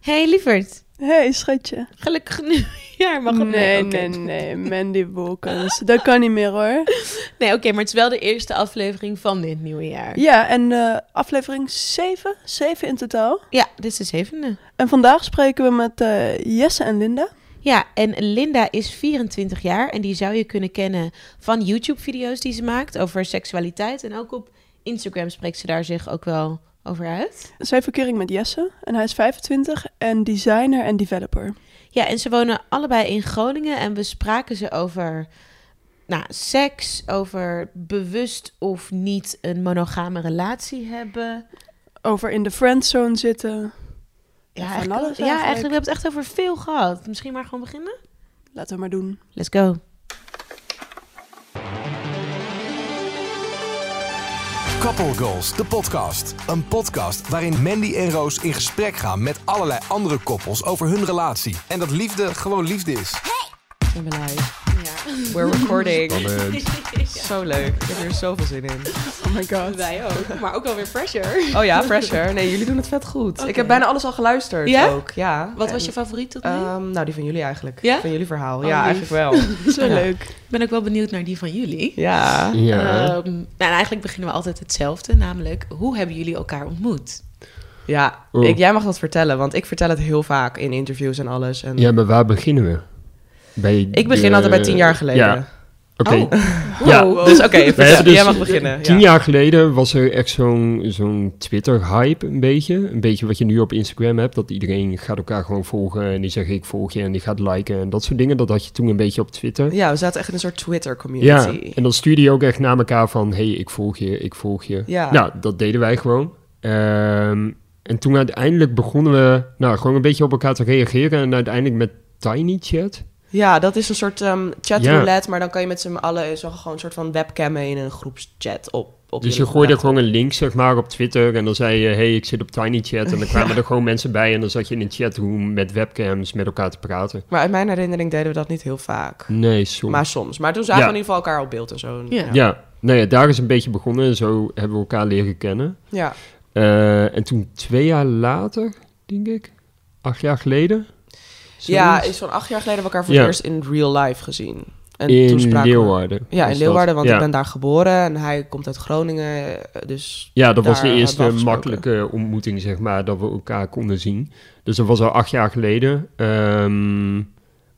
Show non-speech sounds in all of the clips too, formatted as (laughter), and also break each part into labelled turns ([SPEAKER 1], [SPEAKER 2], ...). [SPEAKER 1] Hey lieverd,
[SPEAKER 2] hey, schatje.
[SPEAKER 1] gelukkig nieuwjaar mag het
[SPEAKER 2] nee,
[SPEAKER 1] oké.
[SPEAKER 2] nee, nee, Mandy Wolkens. (laughs) Dat kan niet meer hoor.
[SPEAKER 1] Nee, oké, maar het is wel de eerste aflevering van dit nieuwe jaar.
[SPEAKER 2] Ja, en eh, aflevering 7, 7 in totaal.
[SPEAKER 1] Ja, dit is de zevende.
[SPEAKER 2] En vandaag spreken we met eh, Jesse en Linda.
[SPEAKER 1] Ja, en Linda is 24 jaar en die zou je kunnen kennen van YouTube-video's die ze maakt over seksualiteit. En ook op Instagram spreekt ze daar zich ook wel over uit.
[SPEAKER 2] Zij heeft verkering met Jesse en hij is 25 en designer en developer.
[SPEAKER 1] Ja, en ze wonen allebei in Groningen en we spraken ze over nou, seks, over bewust of niet een monogame relatie hebben.
[SPEAKER 2] Over in de friendzone zitten. Ja, van
[SPEAKER 1] eigenlijk,
[SPEAKER 2] alles
[SPEAKER 1] ja,
[SPEAKER 2] eigenlijk.
[SPEAKER 1] eigenlijk. We hebben het echt over veel gehad. Misschien maar gewoon beginnen?
[SPEAKER 2] Laten we maar doen.
[SPEAKER 1] Let's go.
[SPEAKER 3] Couple Goals, de podcast. Een podcast waarin Mandy en Roos in gesprek gaan met allerlei andere koppels over hun relatie. En dat liefde gewoon liefde is.
[SPEAKER 4] Ik ben live.
[SPEAKER 1] (laughs)
[SPEAKER 4] We're recording. (laughs) Zo leuk. Ik heb hier zoveel zin in.
[SPEAKER 2] Oh my god.
[SPEAKER 1] Wij ook, maar ook wel weer pressure.
[SPEAKER 4] Oh ja, pressure. Nee, jullie doen het vet goed. Ik heb bijna alles al geluisterd
[SPEAKER 1] Ja?
[SPEAKER 4] ook. Ja.
[SPEAKER 1] Wat
[SPEAKER 4] En,
[SPEAKER 1] was je favoriet tot nu?
[SPEAKER 4] ehm, nou, die van jullie eigenlijk.
[SPEAKER 1] Ja? Oh,
[SPEAKER 4] Van jullie verhaal.
[SPEAKER 1] lief.
[SPEAKER 4] ja, eigenlijk
[SPEAKER 1] (laughs)
[SPEAKER 4] wel.
[SPEAKER 2] Zo
[SPEAKER 4] Ja.
[SPEAKER 2] leuk.
[SPEAKER 1] ik ben ook wel benieuwd naar die van jullie.
[SPEAKER 4] Ja. (laughs)
[SPEAKER 1] Ehm, nou, en eigenlijk beginnen we altijd hetzelfde, namelijk hoe hebben jullie elkaar ontmoet?
[SPEAKER 4] Ja.
[SPEAKER 5] Oh.
[SPEAKER 4] Ik, jij mag dat vertellen, want ik vertel het heel vaak in interviews en alles. En
[SPEAKER 5] Ja, maar waar beginnen we? Bij
[SPEAKER 4] Ik begin
[SPEAKER 5] de-
[SPEAKER 4] altijd bij tien jaar geleden. Oh.
[SPEAKER 5] Ja, oké. Ja.
[SPEAKER 4] (laughs) Ja. Dus oké,
[SPEAKER 5] We
[SPEAKER 4] vertel.
[SPEAKER 5] hebben dus
[SPEAKER 4] jij mag beginnen.
[SPEAKER 5] Tien
[SPEAKER 4] ja.
[SPEAKER 5] jaar geleden was er echt zo'n zo'n Twitter-hype een beetje. Een beetje wat je nu op Instagram hebt. Dat iedereen gaat elkaar gewoon volgen en die zegt ik volg je en die gaat liken en dat soort dingen. Dat had je toen een beetje op Twitter.
[SPEAKER 4] Ja, we zaten echt in een soort
[SPEAKER 5] Ja,
[SPEAKER 4] Twitter-community.
[SPEAKER 5] en dan stuurde je ook echt naar elkaar van... hey, ik volg je, ik volg je.
[SPEAKER 4] Ja.
[SPEAKER 5] Nou, dat deden wij gewoon. Ehm, en toen uiteindelijk begonnen we... nou, gewoon een beetje op elkaar te reageren... en uiteindelijk met Tiny Chat.
[SPEAKER 4] Ja, dat is een soort ehm
[SPEAKER 5] Ja.
[SPEAKER 4] chatroulette, maar dan kan je met z'n allen zo gewoon een soort van webcammen in een groepschat op. op
[SPEAKER 5] Dus je gooide gewoon een link, zeg maar, op Twitter. En dan zei je, hey, ik zit op Tiny Chat. En dan
[SPEAKER 4] (laughs)
[SPEAKER 5] kwamen er gewoon mensen bij. En dan zat je in een chatroom met webcams met elkaar te praten.
[SPEAKER 4] Maar uit mijn herinnering deden we dat niet heel vaak.
[SPEAKER 5] Nee, sorry.
[SPEAKER 4] Maar soms. Maar toen zagen
[SPEAKER 5] Ja.
[SPEAKER 4] we in ieder geval elkaar op beeld en zo.
[SPEAKER 1] Ja.
[SPEAKER 5] ja. nou ja, daar is een beetje begonnen. En zo hebben we elkaar leren kennen.
[SPEAKER 4] Ja.
[SPEAKER 5] Eh, en toen twee jaar later, denk ik, acht jaar geleden. zoiets,
[SPEAKER 4] Ja, is zo'n acht jaar geleden hebben we elkaar voor
[SPEAKER 5] Ja.
[SPEAKER 4] het eerst in real life gezien. En toen
[SPEAKER 5] in
[SPEAKER 4] spraken we.
[SPEAKER 5] Leeuwarden.
[SPEAKER 4] Ja,
[SPEAKER 5] was
[SPEAKER 4] in
[SPEAKER 5] dat.
[SPEAKER 4] Leeuwarden, want
[SPEAKER 5] ja.
[SPEAKER 4] ik ben daar geboren en hij komt uit Groningen. eh, Dus
[SPEAKER 5] Ja, dat was de
[SPEAKER 4] daar
[SPEAKER 5] eerste
[SPEAKER 4] hebben we afgesproken.
[SPEAKER 5] makkelijke ontmoeting, zeg maar, dat we elkaar konden zien. Dus dat was al acht jaar geleden. Ehm,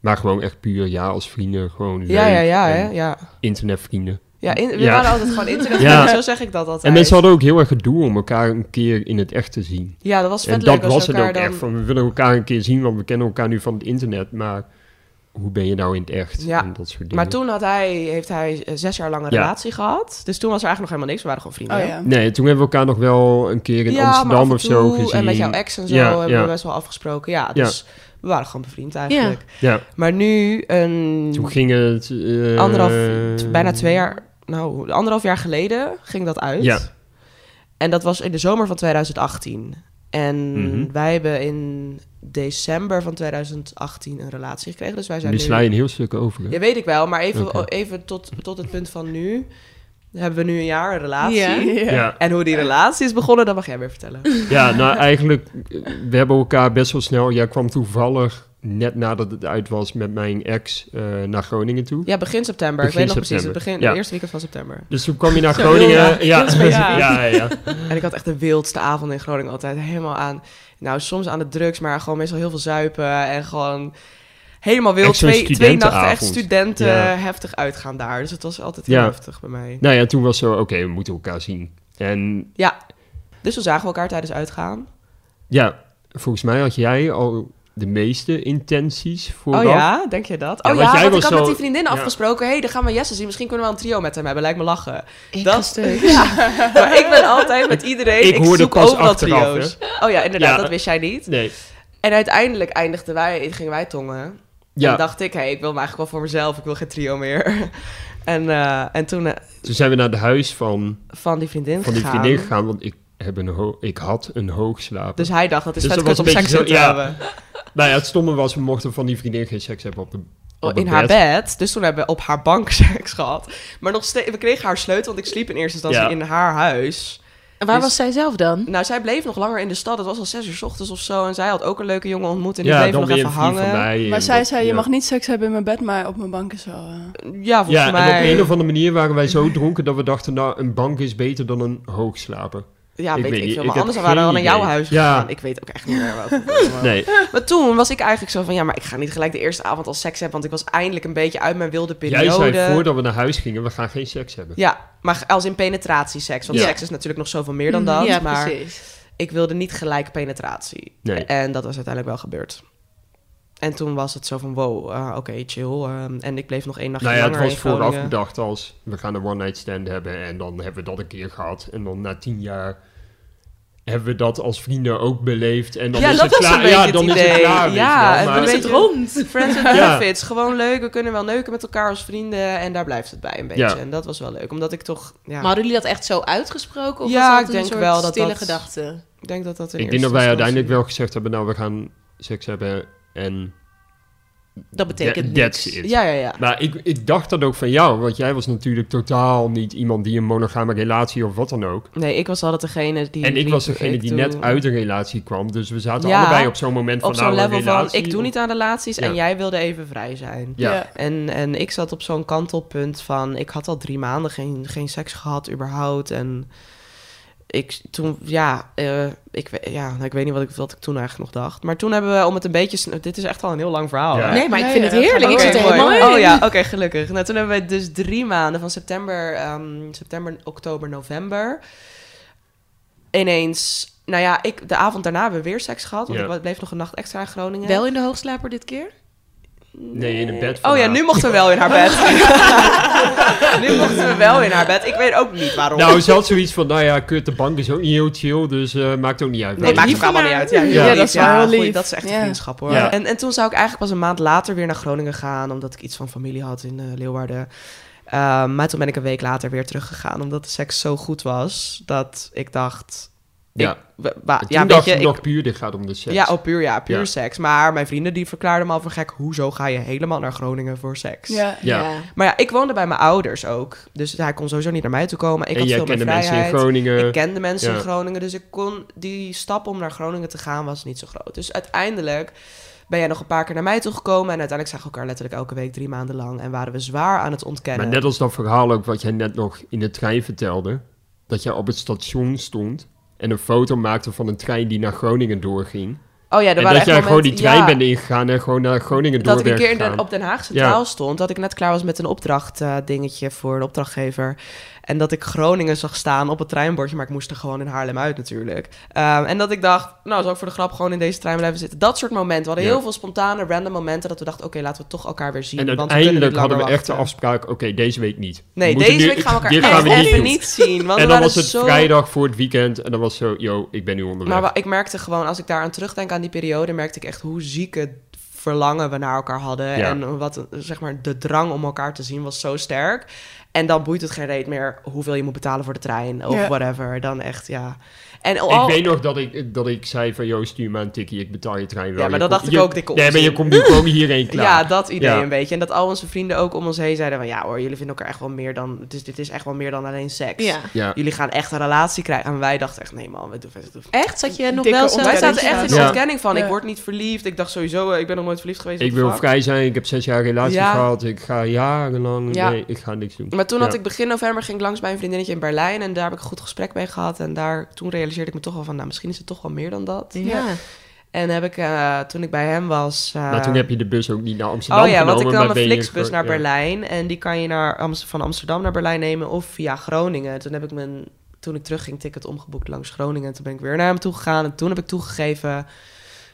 [SPEAKER 5] maar gewoon echt puur, ja, als vrienden, gewoon leuk.
[SPEAKER 4] Ja, ja, ja,
[SPEAKER 5] en
[SPEAKER 4] hè? Ja.
[SPEAKER 5] Internetvrienden.
[SPEAKER 4] ja in- we
[SPEAKER 5] Ja.
[SPEAKER 4] waren altijd gewoon internet.
[SPEAKER 5] (laughs) Ja.
[SPEAKER 4] Zo zeg ik dat altijd.
[SPEAKER 5] En mensen hadden ook heel erg gedoe om elkaar een keer in het echt te zien.
[SPEAKER 4] Ja, dus- dat was vet
[SPEAKER 5] en
[SPEAKER 4] leuk
[SPEAKER 5] dat
[SPEAKER 4] als
[SPEAKER 5] was
[SPEAKER 4] we
[SPEAKER 5] het ook
[SPEAKER 4] elkaar dan...
[SPEAKER 5] echt, van we willen elkaar een keer zien, want we kennen elkaar nu van het internet. Maar hoe ben je nou in het echt?
[SPEAKER 4] Ja,
[SPEAKER 5] En dat soort dingen.
[SPEAKER 4] Maar toen had hij, heeft hij eh, zes jaar lang een
[SPEAKER 5] Ja.
[SPEAKER 4] relatie gehad. Dus toen was er eigenlijk nog helemaal niks. We waren gewoon vrienden.
[SPEAKER 2] Oh
[SPEAKER 4] hè?
[SPEAKER 2] ja.
[SPEAKER 5] Nee, toen hebben we elkaar nog wel een keer in
[SPEAKER 4] Ja, maar af
[SPEAKER 5] Amsterdam
[SPEAKER 4] en
[SPEAKER 5] of zo
[SPEAKER 4] toe,
[SPEAKER 5] gezien.
[SPEAKER 4] En met jouw ex en zo
[SPEAKER 5] Ja,
[SPEAKER 4] hebben
[SPEAKER 5] ja.
[SPEAKER 4] we best wel afgesproken. Ja, dus we waren gewoon bevriend eigenlijk.
[SPEAKER 5] Ja,
[SPEAKER 4] Maar nu, een
[SPEAKER 5] toen ging het... eh,
[SPEAKER 4] anderhalf, t- bijna twee jaar, nou, anderhalf jaar geleden ging dat uit.
[SPEAKER 5] Ja.
[SPEAKER 4] En dat was in de zomer van 2018. En
[SPEAKER 5] Mhm.
[SPEAKER 4] wij hebben in december van 2018 een relatie gekregen. Dus wij zijn
[SPEAKER 5] Nu
[SPEAKER 4] nu...
[SPEAKER 5] sla je een heel stuk over. hè?
[SPEAKER 4] Ja, weet ik wel. Maar even,
[SPEAKER 5] Oké.
[SPEAKER 4] even tot, tot het punt van nu. Hebben we nu een jaar een relatie.
[SPEAKER 1] Ja.
[SPEAKER 5] Ja,
[SPEAKER 4] En hoe die relatie is begonnen, dat mag jij weer vertellen.
[SPEAKER 5] ja, nou eigenlijk, eh, we hebben elkaar best wel snel. Jij kwam toevallig, net nadat het uit was, met mijn ex eh, naar Groningen toe.
[SPEAKER 4] Ja, begin september.
[SPEAKER 5] Begin
[SPEAKER 4] ik weet nog precies. Het
[SPEAKER 5] september.
[SPEAKER 4] begin,
[SPEAKER 5] Ja.
[SPEAKER 4] de eerste weekend van september.
[SPEAKER 5] Dus toen kwam je naar
[SPEAKER 4] Zo,
[SPEAKER 5] Groningen.
[SPEAKER 4] heel
[SPEAKER 5] Ja,
[SPEAKER 4] raar.
[SPEAKER 5] ja,
[SPEAKER 4] Heel specifiek.
[SPEAKER 5] (laughs) ja. ja, ja.
[SPEAKER 4] En ik had echt de wildste avond in Groningen altijd. Helemaal aan, nou soms aan de drugs, maar gewoon meestal heel veel zuipen. En gewoon helemaal wild.
[SPEAKER 5] Echt zo'n
[SPEAKER 4] Twee, twee nachten echt
[SPEAKER 5] studentenavond.
[SPEAKER 4] studenten
[SPEAKER 5] Ja.
[SPEAKER 4] heftig uitgaan daar. Dus het was altijd heel
[SPEAKER 5] Ja.
[SPEAKER 4] heftig bij mij.
[SPEAKER 5] Nou ja, toen was zo, oké, we moeten elkaar zien. En
[SPEAKER 4] Ja, dus toen zagen we elkaar tijdens uitgaan.
[SPEAKER 5] ja, volgens mij had jij al de meeste intenties vooraf.
[SPEAKER 4] Oh ja, denk je dat?
[SPEAKER 5] Ja,
[SPEAKER 4] Oh ja,
[SPEAKER 5] want jij
[SPEAKER 4] want ik
[SPEAKER 5] was
[SPEAKER 4] had
[SPEAKER 5] zo-
[SPEAKER 4] met die vriendin
[SPEAKER 5] ja.
[SPEAKER 4] afgesproken. Hé, hey, dan gaan we Jesse zien. Misschien kunnen we wel een trio met hem hebben. Lijkt me lachen. (laughs)
[SPEAKER 1] Ik
[SPEAKER 4] Dat-
[SPEAKER 1] stuk.
[SPEAKER 4] Maar ik ben altijd met iedereen. Ik,
[SPEAKER 5] ik hoorde
[SPEAKER 4] zoek
[SPEAKER 5] pas
[SPEAKER 4] overal
[SPEAKER 5] achteraf,
[SPEAKER 4] trio's. Oh ja, inderdaad.
[SPEAKER 5] Ja.
[SPEAKER 4] Dat wist jij niet.
[SPEAKER 5] Nee.
[SPEAKER 4] En uiteindelijk eindigden wij, gingen wij tongen. En
[SPEAKER 5] Ja,
[SPEAKER 4] dacht ik, hé, ik wil me eigenlijk wel voor mezelf. Ik wil geen trio meer. (laughs) en, eh, en toen eh,
[SPEAKER 5] toen zijn we naar het huis van,
[SPEAKER 4] van die vriendin
[SPEAKER 5] van die
[SPEAKER 4] gegaan.
[SPEAKER 5] vriendin gegaan, want ik, heb een ho- ik had een hoogslaap.
[SPEAKER 4] Dus hij dacht, dat is
[SPEAKER 5] Dus
[SPEAKER 4] vet
[SPEAKER 5] dat
[SPEAKER 4] kut om
[SPEAKER 5] was een
[SPEAKER 4] seks
[SPEAKER 5] beetje
[SPEAKER 4] te
[SPEAKER 5] zo- ja.
[SPEAKER 4] hebben.
[SPEAKER 5] Nou ja, het stomme was, we mochten van die vriendin geen seks hebben op de
[SPEAKER 4] Oh,
[SPEAKER 5] op
[SPEAKER 4] in
[SPEAKER 5] het
[SPEAKER 4] haar bed. Dus toen hebben we op haar (laughs) bank seks gehad. Maar nog steeds, we kregen haar sleutel, want ik sliep in eerste instantie in
[SPEAKER 5] Ja.
[SPEAKER 4] haar huis.
[SPEAKER 1] En waar
[SPEAKER 4] Dus-
[SPEAKER 1] was zij zelf dan?
[SPEAKER 4] Nou, zij bleef nog langer in de stad. Het was al zes uur 's ochtends of zo. En zij had ook een leuke jongen ontmoet. En die
[SPEAKER 5] ja,
[SPEAKER 4] bleef
[SPEAKER 5] dan
[SPEAKER 4] nog
[SPEAKER 5] ben je
[SPEAKER 4] even
[SPEAKER 5] een vriend van
[SPEAKER 4] hangen.
[SPEAKER 5] mij. en
[SPEAKER 2] Maar zij
[SPEAKER 5] dat-
[SPEAKER 2] zei, je
[SPEAKER 5] ja.
[SPEAKER 2] mag niet seks hebben in mijn bed, maar op mijn bank is wel... eh,
[SPEAKER 4] Ja, volgens
[SPEAKER 5] Ja, en
[SPEAKER 4] mij.
[SPEAKER 5] op een of andere manier waren wij zo dronken dat we dachten, nou, een bank is beter dan een hoogslaper.
[SPEAKER 4] Ja,
[SPEAKER 5] Ik
[SPEAKER 4] weet
[SPEAKER 5] weet
[SPEAKER 4] ik
[SPEAKER 5] niet,
[SPEAKER 4] veel.
[SPEAKER 5] ik
[SPEAKER 4] Maar
[SPEAKER 5] heb
[SPEAKER 4] anders waren we
[SPEAKER 5] geen
[SPEAKER 4] al naar jouw
[SPEAKER 5] idee.
[SPEAKER 4] huis
[SPEAKER 5] Ja.
[SPEAKER 4] gegaan. Ik weet ook echt niet meer waar we over
[SPEAKER 5] Nee,
[SPEAKER 4] Maar toen was ik eigenlijk zo van... Ja, maar ik ga niet gelijk de eerste avond al seks hebben. Want ik was eindelijk een beetje uit mijn wilde periode.
[SPEAKER 5] jij zei voordat we naar huis gingen, we gaan geen seks hebben.
[SPEAKER 4] Ja, maar als in penetratieseks. Want
[SPEAKER 5] Ja.
[SPEAKER 4] seks is natuurlijk nog zoveel meer dan dat.
[SPEAKER 1] Mm, ja,
[SPEAKER 4] maar
[SPEAKER 1] precies.
[SPEAKER 4] ik wilde niet gelijk penetratie.
[SPEAKER 5] Nee.
[SPEAKER 4] En dat was uiteindelijk wel gebeurd. En toen was het zo van, wow, eh, oké, chill. ehm, en ik bleef nog één nachtje
[SPEAKER 5] Nou ja, het
[SPEAKER 4] langer
[SPEAKER 5] was
[SPEAKER 4] in
[SPEAKER 5] vooraf
[SPEAKER 4] Groningen.
[SPEAKER 5] bedacht als we gaan een one-night stand hebben en dan hebben we dat een keer gehad. En dan na tien jaar hebben we dat als vrienden ook beleefd. En dan
[SPEAKER 4] Ja,
[SPEAKER 5] is
[SPEAKER 4] dat
[SPEAKER 5] het
[SPEAKER 4] was
[SPEAKER 5] klaar.
[SPEAKER 4] een beetje
[SPEAKER 5] ja,
[SPEAKER 4] het
[SPEAKER 5] dan is het
[SPEAKER 4] idee.
[SPEAKER 5] klaar. weet je
[SPEAKER 4] Ja,
[SPEAKER 5] wel,
[SPEAKER 4] en
[SPEAKER 5] maar-
[SPEAKER 4] dan
[SPEAKER 1] Maar
[SPEAKER 4] is
[SPEAKER 1] is
[SPEAKER 4] het
[SPEAKER 1] het rond. (laughs)
[SPEAKER 4] Friends with
[SPEAKER 5] (laughs) Ja.
[SPEAKER 4] benefits. Gewoon leuk. We kunnen wel neuken met elkaar als vrienden. En daar blijft het bij een beetje.
[SPEAKER 5] Ja.
[SPEAKER 4] En dat was wel leuk. Omdat ik toch... Ja,
[SPEAKER 1] Maar hadden jullie dat echt zo uitgesproken? Of
[SPEAKER 4] Ja,
[SPEAKER 1] was dat
[SPEAKER 4] ik
[SPEAKER 1] een
[SPEAKER 4] denk
[SPEAKER 1] soort
[SPEAKER 4] wel dat
[SPEAKER 1] stille
[SPEAKER 4] dat-
[SPEAKER 1] gedachte?
[SPEAKER 4] ik denk dat dat in eerste
[SPEAKER 5] Ik denk dat wij
[SPEAKER 4] instantie-
[SPEAKER 5] uiteindelijk wel gezegd hebben, nou, we gaan seks hebben en...
[SPEAKER 1] Dat betekent
[SPEAKER 5] That-
[SPEAKER 1] niks.
[SPEAKER 5] that's it.
[SPEAKER 4] Ja, ja, ja.
[SPEAKER 5] Maar ik, ik dacht dat ook van jou, want jij was natuurlijk totaal niet iemand die een monogame relatie of wat dan ook.
[SPEAKER 4] Nee, ik was altijd degene die...
[SPEAKER 5] En ik
[SPEAKER 4] liep,
[SPEAKER 5] was degene
[SPEAKER 4] ik
[SPEAKER 5] die
[SPEAKER 4] doe-
[SPEAKER 5] net uit een relatie kwam, dus we zaten
[SPEAKER 4] Ja,
[SPEAKER 5] allebei op zo'n moment van
[SPEAKER 4] Op zo'n
[SPEAKER 5] nou, een
[SPEAKER 4] level van,
[SPEAKER 5] relatie.
[SPEAKER 4] ik doe niet aan relaties. En
[SPEAKER 5] Ja.
[SPEAKER 4] jij wilde even vrij zijn.
[SPEAKER 5] Ja.
[SPEAKER 4] En, en ik zat op zo'n kantelpunt van... Ik had al drie maanden geen, geen seks gehad überhaupt. En ik toen... Ja, eh, ik, we- ja nou, ik weet niet wat ik, wat ik toen eigenlijk nog dacht. Maar toen hebben we om het een beetje... sn- Dit is echt al een heel lang verhaal.
[SPEAKER 5] Ja.
[SPEAKER 4] hè?
[SPEAKER 1] Nee, maar ik
[SPEAKER 2] Nee,
[SPEAKER 1] vind het
[SPEAKER 2] eh,
[SPEAKER 1] heerlijk. Ik
[SPEAKER 4] Oké,
[SPEAKER 1] zit er
[SPEAKER 4] mooi.
[SPEAKER 1] helemaal in.
[SPEAKER 4] Oh ja, oké, gelukkig. Nou, toen hebben we dus drie maanden van september, ehm, september, oktober, november. Ineens, nou ja, ik, de avond daarna hebben we weer seks gehad. Want
[SPEAKER 5] Ja.
[SPEAKER 4] ik bleef nog een nacht extra in Groningen.
[SPEAKER 1] Wel in de hoogslaper dit keer?
[SPEAKER 5] Nee, in het bed van
[SPEAKER 4] Oh ja,
[SPEAKER 5] haar.
[SPEAKER 4] nu mochten we wel in haar
[SPEAKER 5] (laughs)
[SPEAKER 4] bed. nu mochten we wel in haar bed. Ik weet ook niet waarom.
[SPEAKER 5] Nou, ze had zoiets van, nou ja, kut, de bank is ook niet heel chill, dus eh, maakt ook niet uit.
[SPEAKER 4] Nee,
[SPEAKER 5] Wel,
[SPEAKER 4] maakt
[SPEAKER 5] die-
[SPEAKER 4] ook allemaal niet uit. Ja,
[SPEAKER 5] Ja,
[SPEAKER 4] lief,
[SPEAKER 2] dat is wel heel
[SPEAKER 4] goeie,
[SPEAKER 2] lief.
[SPEAKER 4] Dat is echt een
[SPEAKER 2] Ja.
[SPEAKER 4] vriendschap hoor.
[SPEAKER 5] Ja.
[SPEAKER 4] En, en toen zou ik eigenlijk pas een maand later weer naar Groningen gaan, omdat ik iets van familie had in eh, Leeuwarden. Ehm, maar toen ben ik een week later weer teruggegaan, omdat de seks zo goed was dat ik dacht.
[SPEAKER 5] Ja.
[SPEAKER 4] ik- we- wa-
[SPEAKER 5] Toen
[SPEAKER 4] ja, weet
[SPEAKER 5] dacht
[SPEAKER 4] je,
[SPEAKER 5] ik nog
[SPEAKER 4] ik-
[SPEAKER 5] puur, dit gaat om de seks.
[SPEAKER 4] ja, oh, puur, ja, puur
[SPEAKER 5] Ja.
[SPEAKER 4] seks. Maar mijn vrienden die verklaarden me al van gek, hoezo ga je helemaal naar Groningen voor seks?
[SPEAKER 2] ja.
[SPEAKER 5] Ja.
[SPEAKER 4] Maar ja, ik woonde bij mijn ouders ook. Dus hij kon sowieso niet naar mij toe komen. Ik
[SPEAKER 5] en
[SPEAKER 4] had
[SPEAKER 5] jij
[SPEAKER 4] veel meer
[SPEAKER 5] kende mensen in
[SPEAKER 4] vrijheid.
[SPEAKER 5] Groningen.
[SPEAKER 4] Ik kende mensen
[SPEAKER 5] ja.
[SPEAKER 4] in Groningen, dus ik kon die stap om naar Groningen te gaan was niet zo groot. Dus uiteindelijk ben jij nog een paar keer naar mij toegekomen en uiteindelijk zagen we elkaar letterlijk elke week drie maanden lang en waren we zwaar aan het
[SPEAKER 5] maar
[SPEAKER 4] ontkennen.
[SPEAKER 5] net als dat verhaal ook wat jij net nog in de trein vertelde, dat jij op het station stond en een foto maakte van een trein die naar Groningen doorging.
[SPEAKER 4] oh ja, er
[SPEAKER 5] en
[SPEAKER 4] waren
[SPEAKER 5] dat
[SPEAKER 4] echt
[SPEAKER 5] jij gewoon die
[SPEAKER 4] momenten-
[SPEAKER 5] trein
[SPEAKER 4] ja,
[SPEAKER 5] bent ingegaan en gewoon naar Groningen door
[SPEAKER 4] Dat ik een
[SPEAKER 5] bent
[SPEAKER 4] keer in de-
[SPEAKER 5] gegaan.
[SPEAKER 4] op Den Haag Centraal stond, dat ik net klaar was met een opdracht eh, dingetje voor een opdrachtgever. En dat ik Groningen zag staan op het treinbordje, maar ik moest er gewoon in Haarlem uit natuurlijk. Ehm, en dat ik dacht, nou zou ik voor de grap gewoon in deze trein blijven zitten. Dat soort momenten. We hadden
[SPEAKER 5] Ja.
[SPEAKER 4] heel veel spontane, random momenten dat we dachten, oké, laten we toch elkaar weer zien.
[SPEAKER 5] En
[SPEAKER 4] want we kunnen
[SPEAKER 5] uiteindelijk
[SPEAKER 4] niet langer
[SPEAKER 5] hadden we echt de
[SPEAKER 4] wachten.
[SPEAKER 5] afspraak, oké, deze week niet. We
[SPEAKER 4] Nee,
[SPEAKER 5] moeten
[SPEAKER 4] deze
[SPEAKER 5] nu-
[SPEAKER 4] week gaan we elkaar
[SPEAKER 5] dit
[SPEAKER 4] echt
[SPEAKER 5] gaan we niet
[SPEAKER 4] even
[SPEAKER 5] doen.
[SPEAKER 4] niet zien. Want we
[SPEAKER 5] en dan
[SPEAKER 4] waren
[SPEAKER 5] was het
[SPEAKER 4] zo...
[SPEAKER 5] vrijdag voor het weekend en dan was zo, yo, ik ben nu onderweg.
[SPEAKER 4] Maar wa- ik merkte gewoon, als ik daaraan terugdenk aan die periode, merkte ik echt hoe zieke verlangen we naar elkaar hadden.
[SPEAKER 5] Ja.
[SPEAKER 4] En wat, een- zeg maar, de drang om elkaar te zien was zo sterk. En dan boeit het geen reet meer hoeveel je moet betalen voor de trein of
[SPEAKER 2] Ja.
[SPEAKER 4] whatever. Dan echt, ja. En al,
[SPEAKER 5] Ik weet nog dat ik, dat ik zei van, joh, stuur me een tikkie, ik betaal je trein
[SPEAKER 4] Ja,
[SPEAKER 5] wel.
[SPEAKER 4] maar
[SPEAKER 5] Je
[SPEAKER 4] dat
[SPEAKER 5] komt-
[SPEAKER 4] dacht ik
[SPEAKER 5] je-
[SPEAKER 4] ook, dikke
[SPEAKER 5] Nee, maar je
[SPEAKER 4] onzin.
[SPEAKER 5] komt nu gewoon hierheen
[SPEAKER 4] (laughs)
[SPEAKER 5] klaar.
[SPEAKER 4] Ja, dat idee
[SPEAKER 5] Ja.
[SPEAKER 4] een beetje. En dat al onze vrienden ook om ons heen zeiden van... ja hoor, jullie vinden elkaar echt wel meer dan... Dus dit is echt wel meer dan alleen seks.
[SPEAKER 1] Ja.
[SPEAKER 5] Ja.
[SPEAKER 4] Jullie gaan echt een relatie krijgen. En wij dachten echt, nee man, we doen, we doen
[SPEAKER 1] Echt? Zat je nog
[SPEAKER 2] Dikke
[SPEAKER 1] wel zo...
[SPEAKER 4] Wij
[SPEAKER 2] ontkenning.
[SPEAKER 4] zaten echt in de
[SPEAKER 5] Ja.
[SPEAKER 4] ontkenning van, ik
[SPEAKER 2] Ja.
[SPEAKER 4] word niet verliefd. Ik dacht sowieso, eh, ik ben nog nooit verliefd geweest.
[SPEAKER 5] Ik
[SPEAKER 4] what
[SPEAKER 5] wil
[SPEAKER 4] the fuck.
[SPEAKER 5] vrij zijn, ik heb zes jaar relatie
[SPEAKER 4] Ja.
[SPEAKER 5] gehad, ik ga jarenlang,
[SPEAKER 4] Ja.
[SPEAKER 5] nee, ik ga niks doen.
[SPEAKER 4] Maar toen had
[SPEAKER 5] Ja.
[SPEAKER 4] ik begin november ging ik langs bij een vriendinnetje in Berlijn en daar heb ik een goed gesprek mee gehad. En daar, toen realiseerde ik me toch wel van, nou misschien is het toch wel meer dan dat.
[SPEAKER 1] Ja.
[SPEAKER 4] En heb ik, eh, toen ik bij hem was... eh,
[SPEAKER 5] Maar Nou, toen heb je de bus ook niet naar Amsterdam
[SPEAKER 4] Oh ja, want
[SPEAKER 5] genomen,
[SPEAKER 4] ik
[SPEAKER 5] maar
[SPEAKER 4] nam een
[SPEAKER 5] ben je
[SPEAKER 4] Flixbus
[SPEAKER 5] gewoon-
[SPEAKER 4] naar
[SPEAKER 5] ja.
[SPEAKER 4] Berlijn. En die kan je naar Amst- van Amsterdam naar Berlijn nemen of via Groningen. Toen heb ik mijn, toen ik terug ging, ticket omgeboekt langs Groningen. En toen ben ik weer naar hem toe gegaan. En toen heb ik toegegeven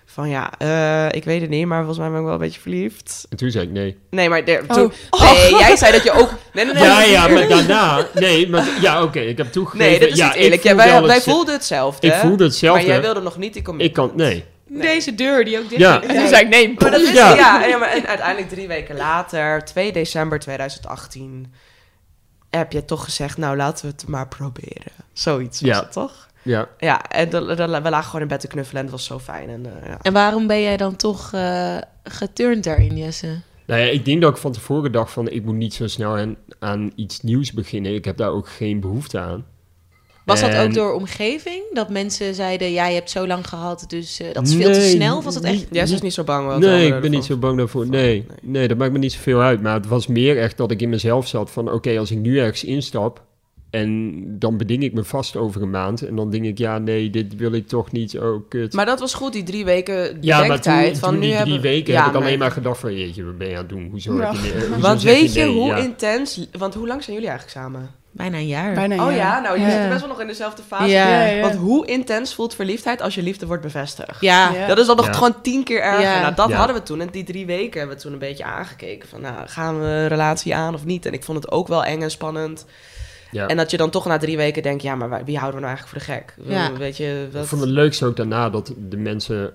[SPEAKER 4] van ja, eh, ik weet het niet, maar volgens mij ben ik wel een beetje verliefd.
[SPEAKER 5] En toen zei ik nee.
[SPEAKER 4] Nee, maar de-
[SPEAKER 2] Oh.
[SPEAKER 4] toen, nee, jij zei dat je ook... Nee, nee, nee.
[SPEAKER 5] Ja, ja, maar daarna... Nee, maar ja, oké, ik heb toegegeven...
[SPEAKER 4] Nee, dat is
[SPEAKER 5] ja,
[SPEAKER 4] niet
[SPEAKER 5] ik
[SPEAKER 4] eerlijk. Ja,
[SPEAKER 5] voel wel
[SPEAKER 4] wij, wij
[SPEAKER 5] het-
[SPEAKER 4] voelden hetzelfde.
[SPEAKER 5] Ik voelde hetzelfde.
[SPEAKER 4] Maar jij wilde nog niet die commitment.
[SPEAKER 5] Ik kan... Nee.
[SPEAKER 1] Deze deur die ook dicht
[SPEAKER 5] Ja.
[SPEAKER 2] En Dus toen zei ik, nee,
[SPEAKER 4] Maar dat is,
[SPEAKER 5] Ja.
[SPEAKER 4] ja. en, maar- en uiteindelijk drie weken later, 2 december 2018, heb je toch gezegd, nou laten we het maar proberen. Zoiets was
[SPEAKER 5] Ja.
[SPEAKER 4] het toch?
[SPEAKER 5] Ja.
[SPEAKER 4] Ja, en dan- dan- we lagen gewoon in bed te knuffelen en het was zo fijn. En, eh, ja.
[SPEAKER 1] En waarom ben jij dan toch eh geturnd daarin, Jesse?
[SPEAKER 5] Nou ja, ik denk dat ik van tevoren dacht van... ik moet niet zo snel aan, aan iets nieuws beginnen. Ik heb daar ook geen behoefte aan.
[SPEAKER 1] Was dat
[SPEAKER 5] En-
[SPEAKER 1] ook door omgeving? Dat mensen zeiden, ja, je hebt zo lang gehad, dus eh, dat is veel te
[SPEAKER 5] Nee,
[SPEAKER 1] snel? Of was dat echt...
[SPEAKER 5] niet-
[SPEAKER 4] Jij is niet zo bang. wat de
[SPEAKER 5] Nee,
[SPEAKER 4] anderen
[SPEAKER 5] ik ben niet
[SPEAKER 4] ervan-
[SPEAKER 5] zo bang daarvoor.
[SPEAKER 4] van-
[SPEAKER 5] Nee,
[SPEAKER 4] nee.
[SPEAKER 5] nee, dat maakt me niet zoveel uit. Maar het was meer echt dat ik in mezelf zat van... oké, als ik nu ergens instap... en dan beding ik me vast over een maand... en dan denk ik, ja, nee, dit wil ik toch niet. Oh, kut.
[SPEAKER 4] Maar dat was goed, die drie weken
[SPEAKER 5] ja, maar
[SPEAKER 4] bedenktijd.
[SPEAKER 5] toen, toen
[SPEAKER 4] van nu
[SPEAKER 5] die drie
[SPEAKER 4] hebben...
[SPEAKER 5] weken
[SPEAKER 4] Ja,
[SPEAKER 5] heb ik alleen
[SPEAKER 4] nee.
[SPEAKER 5] maar gedacht van... jeetje, wat ben je aan het doen? Hoezo heb
[SPEAKER 2] Ja.
[SPEAKER 5] je,
[SPEAKER 4] (laughs)
[SPEAKER 5] eh, hoezo
[SPEAKER 4] Want
[SPEAKER 5] zeg
[SPEAKER 4] weet je,
[SPEAKER 5] nee?
[SPEAKER 4] hoe
[SPEAKER 5] Ja.
[SPEAKER 4] intens... Want hoe lang zijn jullie eigenlijk samen?
[SPEAKER 1] Bijna een jaar.
[SPEAKER 2] Bijna een
[SPEAKER 4] oh ja,
[SPEAKER 2] jaar.
[SPEAKER 4] nou, jullie
[SPEAKER 1] Ja.
[SPEAKER 4] zitten best wel nog in dezelfde fase.
[SPEAKER 1] Ja.
[SPEAKER 2] Ja, ja.
[SPEAKER 4] Want hoe intens voelt verliefdheid als je liefde wordt bevestigd?
[SPEAKER 1] Ja.
[SPEAKER 2] Ja.
[SPEAKER 4] Dat is dan nog
[SPEAKER 5] Ja.
[SPEAKER 4] gewoon tien keer erger.
[SPEAKER 1] Ja.
[SPEAKER 4] Nou, dat
[SPEAKER 5] Ja.
[SPEAKER 4] hadden we toen. En die drie weken hebben we toen een beetje aangekeken. Van, nou, gaan we een relatie aan of niet? En ik vond het ook wel eng en spannend.
[SPEAKER 5] Ja.
[SPEAKER 4] En dat je dan toch na drie weken denkt... Ja, maar wij- wie houden we nou eigenlijk voor de gek?
[SPEAKER 1] Ja.
[SPEAKER 4] Weet je,
[SPEAKER 5] Ik
[SPEAKER 4] dat...
[SPEAKER 5] vond het leukste ook daarna dat de mensen...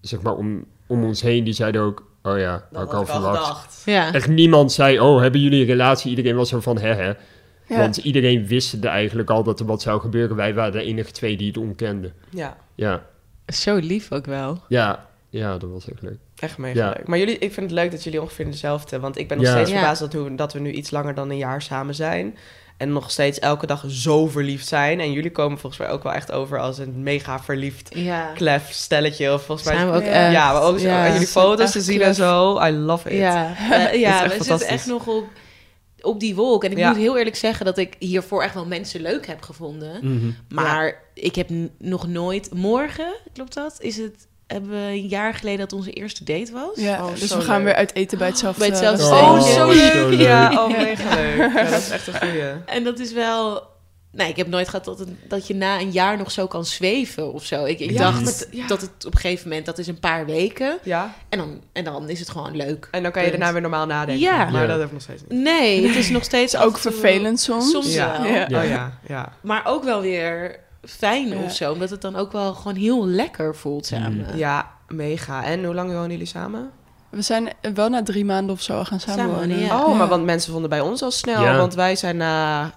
[SPEAKER 5] zeg maar om, om ons heen, die zeiden ook... oh ja,
[SPEAKER 4] dat
[SPEAKER 5] had ik
[SPEAKER 4] had
[SPEAKER 5] al verwacht.
[SPEAKER 4] gedacht.
[SPEAKER 1] Ja.
[SPEAKER 5] Echt niemand zei, oh, hebben jullie een relatie? Iedereen was zo van, hè, hè.
[SPEAKER 2] Ja.
[SPEAKER 5] Want iedereen wist er eigenlijk al dat er wat zou gebeuren. Wij waren de enige twee die het onkenden.
[SPEAKER 4] Ja,
[SPEAKER 5] Ja,
[SPEAKER 1] Zo lief ook wel.
[SPEAKER 5] ja, ja, dat was echt leuk.
[SPEAKER 4] echt mega
[SPEAKER 5] Ja.
[SPEAKER 4] leuk. Maar jullie, ik vind het leuk dat jullie ongeveer dezelfde... Want ik ben nog
[SPEAKER 5] Ja.
[SPEAKER 4] steeds
[SPEAKER 1] Ja.
[SPEAKER 4] verbaasd dat, hoe- dat we nu iets langer dan een jaar samen zijn. En nog steeds elke dag zo verliefd zijn. En jullie komen volgens mij ook wel echt over als een mega verliefd...
[SPEAKER 1] Ja.
[SPEAKER 4] klef stelletje of volgens mij
[SPEAKER 1] Zijn we ook
[SPEAKER 2] Ja.
[SPEAKER 1] echt.
[SPEAKER 4] ja, maar ook zo-
[SPEAKER 1] Ja.
[SPEAKER 4] en jullie foto's
[SPEAKER 1] Echt
[SPEAKER 4] te zien
[SPEAKER 1] klef.
[SPEAKER 4] en zo. I love it.
[SPEAKER 1] Ja, we,
[SPEAKER 4] is echt
[SPEAKER 1] (laughs) ja, we
[SPEAKER 4] fantastisch.
[SPEAKER 1] zitten echt nog op, op die wolk. En ik
[SPEAKER 4] Ja.
[SPEAKER 1] moet heel eerlijk zeggen dat ik hiervoor echt wel mensen leuk heb gevonden. Maar ik heb n- nog nooit... Morgen, klopt dat? Is het, hebben we een jaar geleden dat onze eerste date was?
[SPEAKER 2] Ja,
[SPEAKER 4] Oh,
[SPEAKER 2] dus
[SPEAKER 4] zo
[SPEAKER 2] we gaan
[SPEAKER 4] leuk.
[SPEAKER 2] weer uit eten bij hetzelfde eh,
[SPEAKER 1] Bij hetzelfde
[SPEAKER 5] Oh,
[SPEAKER 2] restaurant.
[SPEAKER 5] steentje. zo leuk.
[SPEAKER 4] Ja, oh, mega leuk. Ja, dat is echt een goeie.
[SPEAKER 1] En dat is wel... Nee, ik heb nooit gehad dat, het- dat je na een jaar nog zo kan zweven of zo. Ik, ik
[SPEAKER 4] Ja,
[SPEAKER 1] dacht
[SPEAKER 4] dat- ja.
[SPEAKER 1] dat het op een gegeven moment, dat is een paar weken.
[SPEAKER 4] Ja,
[SPEAKER 1] En dan, en dan is het gewoon leuk.
[SPEAKER 4] en dan kan je
[SPEAKER 1] Punt.
[SPEAKER 4] daarna weer normaal nadenken.
[SPEAKER 1] Ja.
[SPEAKER 4] Maar
[SPEAKER 5] Ja.
[SPEAKER 4] dat heb ik nog steeds niet.
[SPEAKER 1] Nee, het is nog steeds af
[SPEAKER 2] Ook
[SPEAKER 1] en toe-
[SPEAKER 2] vervelend soms.
[SPEAKER 1] Soms
[SPEAKER 4] Ja.
[SPEAKER 1] wel.
[SPEAKER 2] Ja.
[SPEAKER 4] Oh ja, ja.
[SPEAKER 1] Maar ook wel weer fijn
[SPEAKER 2] Ja.
[SPEAKER 1] of zo. Omdat het dan ook wel gewoon heel lekker voelt samen.
[SPEAKER 4] Ja, mega. En hoe lang wonen jullie samen?
[SPEAKER 2] We zijn wel na drie maanden of zo gaan samenwonen.
[SPEAKER 1] Samenwonen, ja.
[SPEAKER 4] Oh, maar want mensen vonden bij ons al snel.
[SPEAKER 5] Ja.
[SPEAKER 4] Want wij zijn na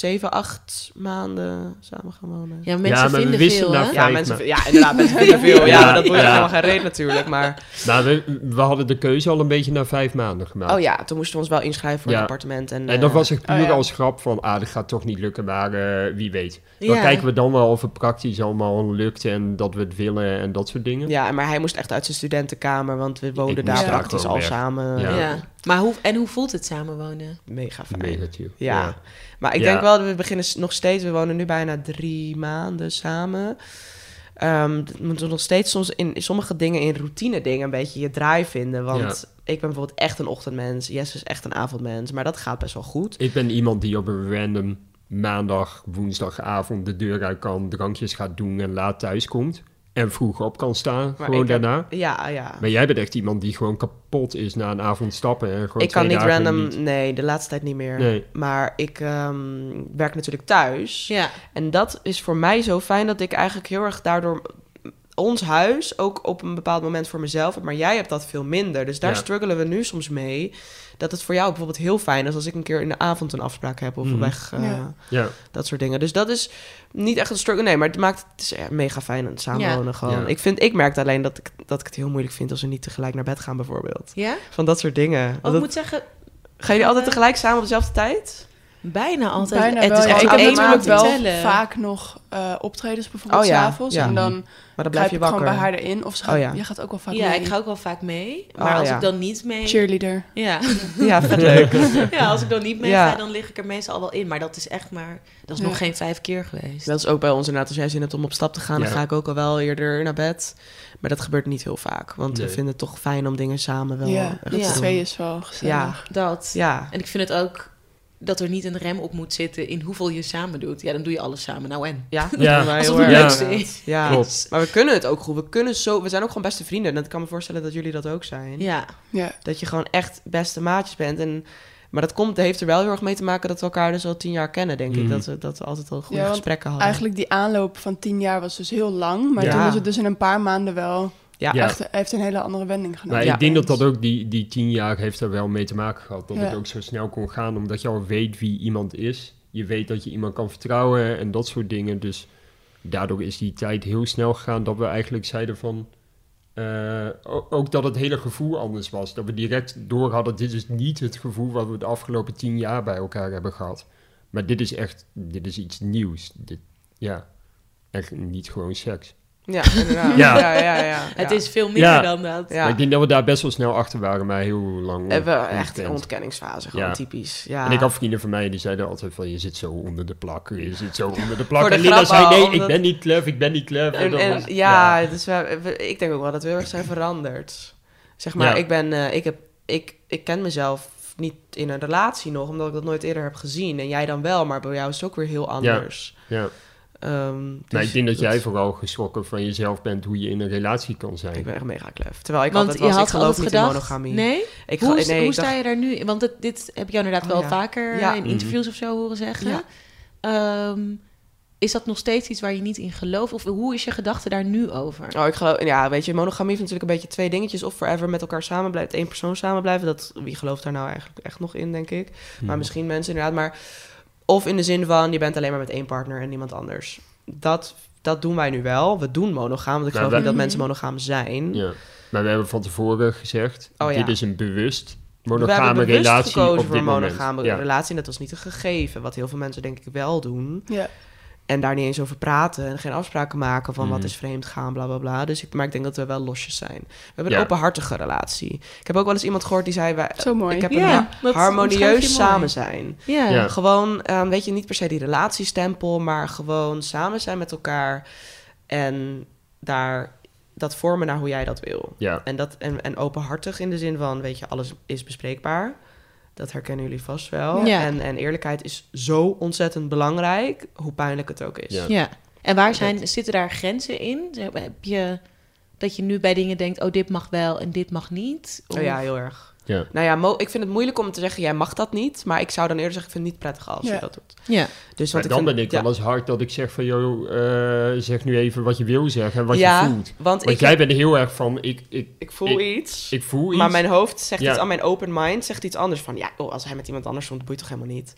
[SPEAKER 4] zeven, acht maanden samen gaan wonen.
[SPEAKER 1] Ja,
[SPEAKER 5] Ja,
[SPEAKER 1] mensen
[SPEAKER 5] maar we
[SPEAKER 1] vinden
[SPEAKER 5] wisten
[SPEAKER 1] veel,
[SPEAKER 5] na
[SPEAKER 1] hè?
[SPEAKER 5] vijf-
[SPEAKER 4] Ja, mensen, ja inderdaad, mensen vinden veel. Ja,
[SPEAKER 5] (laughs) Ja,
[SPEAKER 4] maar dat wordt
[SPEAKER 5] ja.
[SPEAKER 4] helemaal geen reet natuurlijk. Maar
[SPEAKER 5] Nou, we, we hadden de keuze al een beetje na vijf maanden gemaakt.
[SPEAKER 4] Oh ja, toen moesten we ons wel inschrijven voor
[SPEAKER 5] Ja.
[SPEAKER 4] een appartement. En,
[SPEAKER 5] En dat
[SPEAKER 4] eh,
[SPEAKER 5] was echt puur
[SPEAKER 2] Oh ja.
[SPEAKER 5] als grap van, ah, dat gaat toch niet lukken, maar eh, wie weet. Dan
[SPEAKER 1] Ja.
[SPEAKER 5] kijken we dan wel of het praktisch allemaal lukt en dat we het willen en dat soort dingen.
[SPEAKER 4] Ja, maar hij moest echt uit zijn studentenkamer, want we woonden
[SPEAKER 5] moest
[SPEAKER 4] daar
[SPEAKER 5] daar
[SPEAKER 4] praktisch
[SPEAKER 5] gewoon
[SPEAKER 4] al
[SPEAKER 5] weg.
[SPEAKER 4] samen.
[SPEAKER 5] Ja.
[SPEAKER 1] Ja. Maar hoe, en hoe voelt het samenwonen?
[SPEAKER 4] Mega fijn.
[SPEAKER 5] Mega chill.
[SPEAKER 4] Ja. Maar ik
[SPEAKER 5] Ja.
[SPEAKER 4] denk wel, dat we beginnen s- nog steeds, we wonen nu bijna drie maanden samen. Ehm, d- we moeten nog steeds soms in, in sommige dingen, in routine dingen, een beetje je draai vinden. Want ik ben bijvoorbeeld echt een ochtendmens, Jess is echt een avondmens, maar dat gaat best wel goed.
[SPEAKER 5] Ik ben iemand die op een random maandag, woensdagavond de deur uit kan, drankjes gaat doen en laat thuis komt. En vroeg op kan staan,
[SPEAKER 4] Maar
[SPEAKER 5] gewoon
[SPEAKER 4] ik heb-
[SPEAKER 5] daarna.
[SPEAKER 4] Ja, ja.
[SPEAKER 5] Maar jij bent echt iemand die gewoon kapot is na een avond stappen. En gewoon
[SPEAKER 4] Ik kan
[SPEAKER 5] twee
[SPEAKER 4] niet
[SPEAKER 5] dagen
[SPEAKER 4] random,
[SPEAKER 5] niet-
[SPEAKER 4] nee, de laatste tijd niet meer.
[SPEAKER 5] Nee.
[SPEAKER 4] Maar ik ehm, werk natuurlijk thuis.
[SPEAKER 1] Ja.
[SPEAKER 4] En dat is voor mij zo fijn dat ik eigenlijk heel erg daardoor ons huis ook op een bepaald moment voor mezelf heb. Maar jij hebt dat veel minder. Dus daar
[SPEAKER 5] Ja.
[SPEAKER 4] struggelen we nu soms mee. Dat het voor jou bijvoorbeeld heel fijn is als ik een keer in de avond een afspraak heb of
[SPEAKER 5] Mhm.
[SPEAKER 4] weg. eh,
[SPEAKER 2] Ja.
[SPEAKER 5] Ja,
[SPEAKER 4] Dat soort dingen. Dus dat is niet echt een struggle. Nee, maar het maakt het is eh, mega fijn aan het samenwonen gewoon.
[SPEAKER 5] Ja.
[SPEAKER 4] Ik, vind, ik merk alleen dat ik, dat ik het heel moeilijk vind als we niet tegelijk naar bed gaan bijvoorbeeld.
[SPEAKER 1] Ja?
[SPEAKER 4] Van dat soort dingen.
[SPEAKER 1] Oh,
[SPEAKER 4] Dat-
[SPEAKER 1] ik moet zeggen,
[SPEAKER 4] Gaan jullie altijd tegelijk samen op dezelfde tijd?
[SPEAKER 1] bijna altijd.
[SPEAKER 2] Bijna
[SPEAKER 1] het
[SPEAKER 2] wel.
[SPEAKER 1] is
[SPEAKER 2] ja.
[SPEAKER 1] echt
[SPEAKER 2] Ik heb
[SPEAKER 1] één
[SPEAKER 2] natuurlijk
[SPEAKER 1] hand
[SPEAKER 2] wel
[SPEAKER 1] te tellen.
[SPEAKER 2] vaak nog eh, optredens, bijvoorbeeld
[SPEAKER 4] Oh ja,
[SPEAKER 2] s'avonds.
[SPEAKER 4] ja.
[SPEAKER 2] En dan
[SPEAKER 4] Maar dan blijf
[SPEAKER 2] grijp
[SPEAKER 4] je
[SPEAKER 2] ik gewoon
[SPEAKER 4] wakker.
[SPEAKER 2] bij haar erin. Of ze gaat,
[SPEAKER 4] Oh ja.
[SPEAKER 2] jij gaat ook wel vaak
[SPEAKER 1] Ja,
[SPEAKER 2] mee.
[SPEAKER 1] ik ga ook wel vaak mee.
[SPEAKER 4] Oh,
[SPEAKER 1] Maar als
[SPEAKER 4] ja.
[SPEAKER 1] ik dan niet mee...
[SPEAKER 2] Cheerleader.
[SPEAKER 1] Ja.
[SPEAKER 2] (laughs)
[SPEAKER 4] (laughs)
[SPEAKER 5] (laughs)
[SPEAKER 4] Ja, vet leuk.
[SPEAKER 1] ja, als ik dan niet mee
[SPEAKER 4] Ja.
[SPEAKER 1] ga, dan lig ik er meestal al wel in. Maar dat is echt maar... Dat is
[SPEAKER 2] Ja.
[SPEAKER 1] nog geen vijf keer geweest.
[SPEAKER 4] Dat is ook bij ons inderdaad. Als jij zin hebt om op stap te gaan, dan
[SPEAKER 5] Ja.
[SPEAKER 4] ga ik ook al wel eerder naar bed. Maar dat gebeurt niet heel vaak. Want
[SPEAKER 5] Nee.
[SPEAKER 4] we vinden het toch fijn om dingen samen wel
[SPEAKER 2] Ja,
[SPEAKER 4] echt
[SPEAKER 2] met
[SPEAKER 1] Ja.
[SPEAKER 4] te
[SPEAKER 2] z'n
[SPEAKER 4] doen.
[SPEAKER 2] twee is wel gezellig.
[SPEAKER 1] Dat.
[SPEAKER 4] Ja.
[SPEAKER 1] En ik vind het ook dat er niet een rem op moet zitten in hoeveel je samen doet. Ja, dan doe je alles samen. Nou en?
[SPEAKER 4] Ja, dat (laughs)
[SPEAKER 5] Ja.
[SPEAKER 4] doen wij
[SPEAKER 1] Als
[SPEAKER 4] heel
[SPEAKER 1] dat het
[SPEAKER 5] Ja.
[SPEAKER 4] erg.
[SPEAKER 1] leukste is.
[SPEAKER 4] Ja.
[SPEAKER 5] klopt.
[SPEAKER 4] Maar we kunnen het ook goed. We, kunnen zo, we zijn ook gewoon beste vrienden. En ik kan me voorstellen dat jullie dat ook zijn.
[SPEAKER 1] Ja.
[SPEAKER 2] Ja.
[SPEAKER 4] Dat je gewoon echt beste maatjes bent. En, maar dat komt, heeft er wel heel erg mee te maken dat we elkaar dus al tien jaar kennen, denk ik.
[SPEAKER 5] Mhm.
[SPEAKER 4] Dat we, dat we altijd al goede
[SPEAKER 2] Ja, want
[SPEAKER 4] gesprekken hadden.
[SPEAKER 2] Eigenlijk die aanloop van tien jaar was dus heel lang. Maar
[SPEAKER 4] Ja.
[SPEAKER 2] toen is het dus in een paar maanden wel...
[SPEAKER 4] Ja.
[SPEAKER 5] Ja.
[SPEAKER 2] Echt, hij heeft een hele andere wending genomen.
[SPEAKER 5] Maar
[SPEAKER 4] Ja.
[SPEAKER 5] Nou, ik denk dat dat ook die, die tien jaar heeft er wel mee te maken gehad. Dat
[SPEAKER 2] Ja.
[SPEAKER 5] het ook zo snel kon gaan, omdat je al weet wie iemand is. Je weet dat je iemand kan vertrouwen en dat soort dingen. Dus daardoor is die tijd heel snel gegaan dat we eigenlijk zeiden van... eh, o- ook dat het hele gevoel anders was. Dat we direct door hadden, dit is niet het gevoel wat we de afgelopen tien jaar bij elkaar hebben gehad. Maar dit is echt, dit is iets nieuws. Dit, ja, echt niet gewoon seks.
[SPEAKER 4] Ja, inderdaad.
[SPEAKER 5] Ja.
[SPEAKER 4] ja. Ja, ja, ja.
[SPEAKER 1] Het is veel minder
[SPEAKER 5] Ja.
[SPEAKER 1] dan dat.
[SPEAKER 4] Ja.
[SPEAKER 5] Maar ik denk dat we daar best wel snel achter waren, maar heel lang.
[SPEAKER 4] Hebben we
[SPEAKER 5] ontkend.
[SPEAKER 4] echt een ontkenningsfase, gewoon
[SPEAKER 5] Ja.
[SPEAKER 4] typisch. Ja.
[SPEAKER 5] En ik had vrienden van mij die zeiden altijd van je zit zo onder de plak, je
[SPEAKER 4] (laughs)
[SPEAKER 5] zit zo onder de
[SPEAKER 4] Voor
[SPEAKER 5] plak.
[SPEAKER 4] de
[SPEAKER 5] En Lina
[SPEAKER 4] grap
[SPEAKER 5] zei
[SPEAKER 4] al,
[SPEAKER 5] nee, ik
[SPEAKER 4] omdat-
[SPEAKER 5] ben niet klef, ik ben niet klef. En
[SPEAKER 4] En,
[SPEAKER 5] dat
[SPEAKER 4] en-
[SPEAKER 5] was-
[SPEAKER 4] ja, dus we, we- ik denk ook wel dat we heel erg zijn veranderd. Zeg maar,
[SPEAKER 5] Ja.
[SPEAKER 4] ik ben, eh, ik heb, ik, ik ken mezelf niet in een relatie nog, omdat ik dat nooit eerder heb gezien. En jij dan wel, maar bij jou is het ook weer heel anders.
[SPEAKER 5] ja.
[SPEAKER 4] Ehm, dus
[SPEAKER 5] Maar ik denk dat jij vooral geschrokken van jezelf bent hoe je in een relatie kan zijn.
[SPEAKER 4] Ik ben echt mega klef. Terwijl ik
[SPEAKER 1] Want
[SPEAKER 4] altijd
[SPEAKER 1] je
[SPEAKER 4] was,
[SPEAKER 1] had
[SPEAKER 4] ik geloof
[SPEAKER 1] altijd
[SPEAKER 4] niet
[SPEAKER 1] gedacht,
[SPEAKER 4] in monogamie.
[SPEAKER 1] Nee?
[SPEAKER 4] Ik
[SPEAKER 1] hoe
[SPEAKER 4] ge-
[SPEAKER 1] is-
[SPEAKER 4] nee,
[SPEAKER 1] hoe
[SPEAKER 4] ik
[SPEAKER 1] sta
[SPEAKER 4] dacht-
[SPEAKER 1] je daar nu? Want het- dit heb ik jou inderdaad
[SPEAKER 4] Oh,
[SPEAKER 1] wel
[SPEAKER 4] ja.
[SPEAKER 1] vaker
[SPEAKER 4] Ja.
[SPEAKER 1] eh, in interviews of zo horen zeggen.
[SPEAKER 4] Ja.
[SPEAKER 1] Ehm, is dat nog steeds iets waar je niet in gelooft? Of hoe is je gedachte daar nu over?
[SPEAKER 4] Oh, ik geloof, ja, weet je, monogamie heeft natuurlijk een beetje twee dingetjes. Of forever met elkaar samen blijft, één persoon samen blijven. Dat, wie gelooft daar nou eigenlijk echt nog in, denk ik.
[SPEAKER 5] Hmm.
[SPEAKER 4] Maar misschien mensen inderdaad. Maar, of in de zin van, je bent alleen maar met één partner en niemand anders. Dat, dat doen wij nu wel. We doen monogaam, want ik
[SPEAKER 5] Ja,
[SPEAKER 4] geloof
[SPEAKER 5] wij-
[SPEAKER 4] niet dat mensen monogaam zijn.
[SPEAKER 5] Ja. Maar we hebben van tevoren gezegd,
[SPEAKER 4] Oh, ja.
[SPEAKER 5] dit is een bewust
[SPEAKER 4] we
[SPEAKER 5] monogame
[SPEAKER 4] hebben bewust
[SPEAKER 5] relatie
[SPEAKER 4] gekozen
[SPEAKER 5] op
[SPEAKER 4] voor
[SPEAKER 5] dit
[SPEAKER 4] een
[SPEAKER 5] moment.
[SPEAKER 4] monogame
[SPEAKER 5] Ja.
[SPEAKER 4] relatie. En dat was niet een gegeven, wat heel veel mensen denk ik wel doen.
[SPEAKER 2] Ja.
[SPEAKER 4] En daar niet eens over praten en geen afspraken maken van
[SPEAKER 5] Mhm.
[SPEAKER 4] wat is vreemd gaan, bla bla bla. Dus ik, maar ik denk dat we wel losjes zijn. We hebben
[SPEAKER 5] Ja.
[SPEAKER 4] een openhartige relatie. Ik heb ook wel eens iemand gehoord die zei: wij,
[SPEAKER 2] Zo mooi.
[SPEAKER 4] Ik heb
[SPEAKER 1] Ja,
[SPEAKER 4] een ha-
[SPEAKER 1] dat omschrijf je
[SPEAKER 4] harmonieus
[SPEAKER 1] mooi.
[SPEAKER 4] samen zijn.
[SPEAKER 1] Ja.
[SPEAKER 5] Ja.
[SPEAKER 4] Gewoon, ehm, weet je, niet per se die relatiestempel, maar gewoon samen zijn met elkaar en daar dat vormen naar hoe jij dat wil.
[SPEAKER 5] Ja.
[SPEAKER 4] En, dat, en, en openhartig in de zin van, weet je, alles is bespreekbaar. Dat herkennen jullie vast wel.
[SPEAKER 1] Ja.
[SPEAKER 4] En, en eerlijkheid is zo ontzettend belangrijk, hoe pijnlijk het ook is.
[SPEAKER 5] Ja.
[SPEAKER 1] Ja. En waar zijn, zitten daar grenzen in? Zeg maar, Heb je dat je nu bij dingen denkt, oh dit mag wel en dit mag niet? Of-
[SPEAKER 4] Oh ja, heel erg.
[SPEAKER 5] Ja.
[SPEAKER 4] Nou ja, mo- ik vind het moeilijk om te zeggen, jij mag dat niet. Maar ik zou dan eerder zeggen, ik vind het niet prettig als
[SPEAKER 2] Ja.
[SPEAKER 4] je dat doet.
[SPEAKER 1] ja.
[SPEAKER 4] Dus
[SPEAKER 5] Maar
[SPEAKER 4] wat
[SPEAKER 5] dan
[SPEAKER 4] ik vind,
[SPEAKER 5] ben ik
[SPEAKER 4] ja.
[SPEAKER 5] wel eens hard dat ik zeg van, joh, eh, zeg nu even wat je wil zeggen en wat
[SPEAKER 4] ja,
[SPEAKER 5] je voelt.
[SPEAKER 4] Want,
[SPEAKER 5] Want
[SPEAKER 4] ik,
[SPEAKER 5] jij bent heel erg van, ik, ik,
[SPEAKER 4] ik voel iets.
[SPEAKER 5] ik voel iets.
[SPEAKER 4] Maar mijn hoofd zegt
[SPEAKER 5] Ja.
[SPEAKER 4] iets aan mijn open mind, zegt iets anders van ja, oh, als hij met iemand anders stond, boeit toch helemaal niet.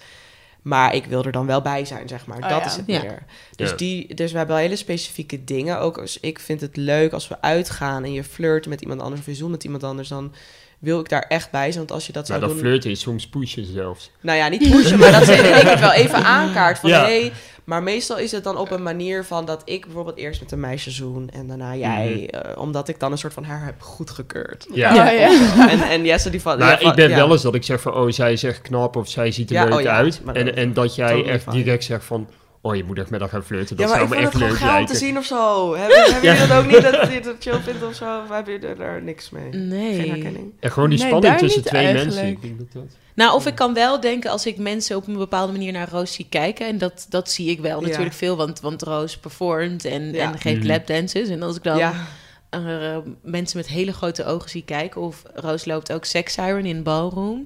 [SPEAKER 4] Maar ik wil er dan wel bij zijn, zeg maar.
[SPEAKER 2] Oh,
[SPEAKER 4] dat
[SPEAKER 2] ja.
[SPEAKER 4] is het
[SPEAKER 1] Ja.
[SPEAKER 4] meer. Dus,
[SPEAKER 5] Ja.
[SPEAKER 4] die, dus we hebben wel hele specifieke dingen. Ook als ik vind het leuk als we uitgaan en je flirt met iemand anders of je zoent met iemand anders, dan wil ik daar echt bij zijn. Want als je dat
[SPEAKER 5] Nou,
[SPEAKER 4] zou
[SPEAKER 5] dat
[SPEAKER 4] doen.
[SPEAKER 5] flirten is soms pushen zelfs.
[SPEAKER 4] Nou ja, niet pushen, maar dat ze in één keer wel even aankaart van
[SPEAKER 5] Ja.
[SPEAKER 4] hey. Maar meestal is het dan op een manier van dat ik bijvoorbeeld eerst met een meisje zoen en daarna jij.
[SPEAKER 5] Mhm.
[SPEAKER 4] eh, omdat ik dan een soort van haar heb goedgekeurd.
[SPEAKER 5] Ja.
[SPEAKER 2] Oh, ja.
[SPEAKER 4] En, en Jesse die
[SPEAKER 5] (laughs)
[SPEAKER 4] van. ja,
[SPEAKER 5] Maar
[SPEAKER 4] van-
[SPEAKER 5] Nou, ik ben
[SPEAKER 4] ja.
[SPEAKER 5] wel eens dat ik zeg van, oh, zij is echt knap of zij ziet er
[SPEAKER 4] Ja,
[SPEAKER 5] leuk
[SPEAKER 4] oh ja,
[SPEAKER 5] uit.
[SPEAKER 4] maar
[SPEAKER 5] En,
[SPEAKER 4] dat-
[SPEAKER 5] en dat jij
[SPEAKER 4] totally
[SPEAKER 5] echt
[SPEAKER 4] fine.
[SPEAKER 5] direct zegt van, oh, je moet echt met haar gaan flirten. Dat
[SPEAKER 4] ja, maar
[SPEAKER 5] zou
[SPEAKER 4] ik
[SPEAKER 5] me
[SPEAKER 4] vond het
[SPEAKER 5] echt
[SPEAKER 4] gewoon
[SPEAKER 5] leuk
[SPEAKER 4] gaaf om
[SPEAKER 5] lijken.
[SPEAKER 4] te zien of zo. Hebben,
[SPEAKER 5] (laughs)
[SPEAKER 4] hebben jullie dat ook niet dat je dat chill vindt of zo? Of hebben jullie daar niks mee?
[SPEAKER 1] Nee.
[SPEAKER 4] Geen herkenning.
[SPEAKER 5] En gewoon die
[SPEAKER 2] Nee,
[SPEAKER 5] spanning
[SPEAKER 2] daar
[SPEAKER 5] tussen
[SPEAKER 2] niet
[SPEAKER 5] twee mensen.
[SPEAKER 2] eigenlijk.
[SPEAKER 5] Ik denk dat dat-
[SPEAKER 1] Nou, of ik kan wel denken als ik mensen op een bepaalde manier naar Roos zie kijken. En dat, dat zie ik wel
[SPEAKER 4] Ja.
[SPEAKER 1] natuurlijk veel, want, want Roos performt en,
[SPEAKER 4] Ja.
[SPEAKER 1] en geeft
[SPEAKER 5] Mhm.
[SPEAKER 1] lapdances. En als ik dan
[SPEAKER 4] Ja.
[SPEAKER 1] eh, mensen met hele grote ogen zie kijken... of Roos loopt ook sex siren in ballroom.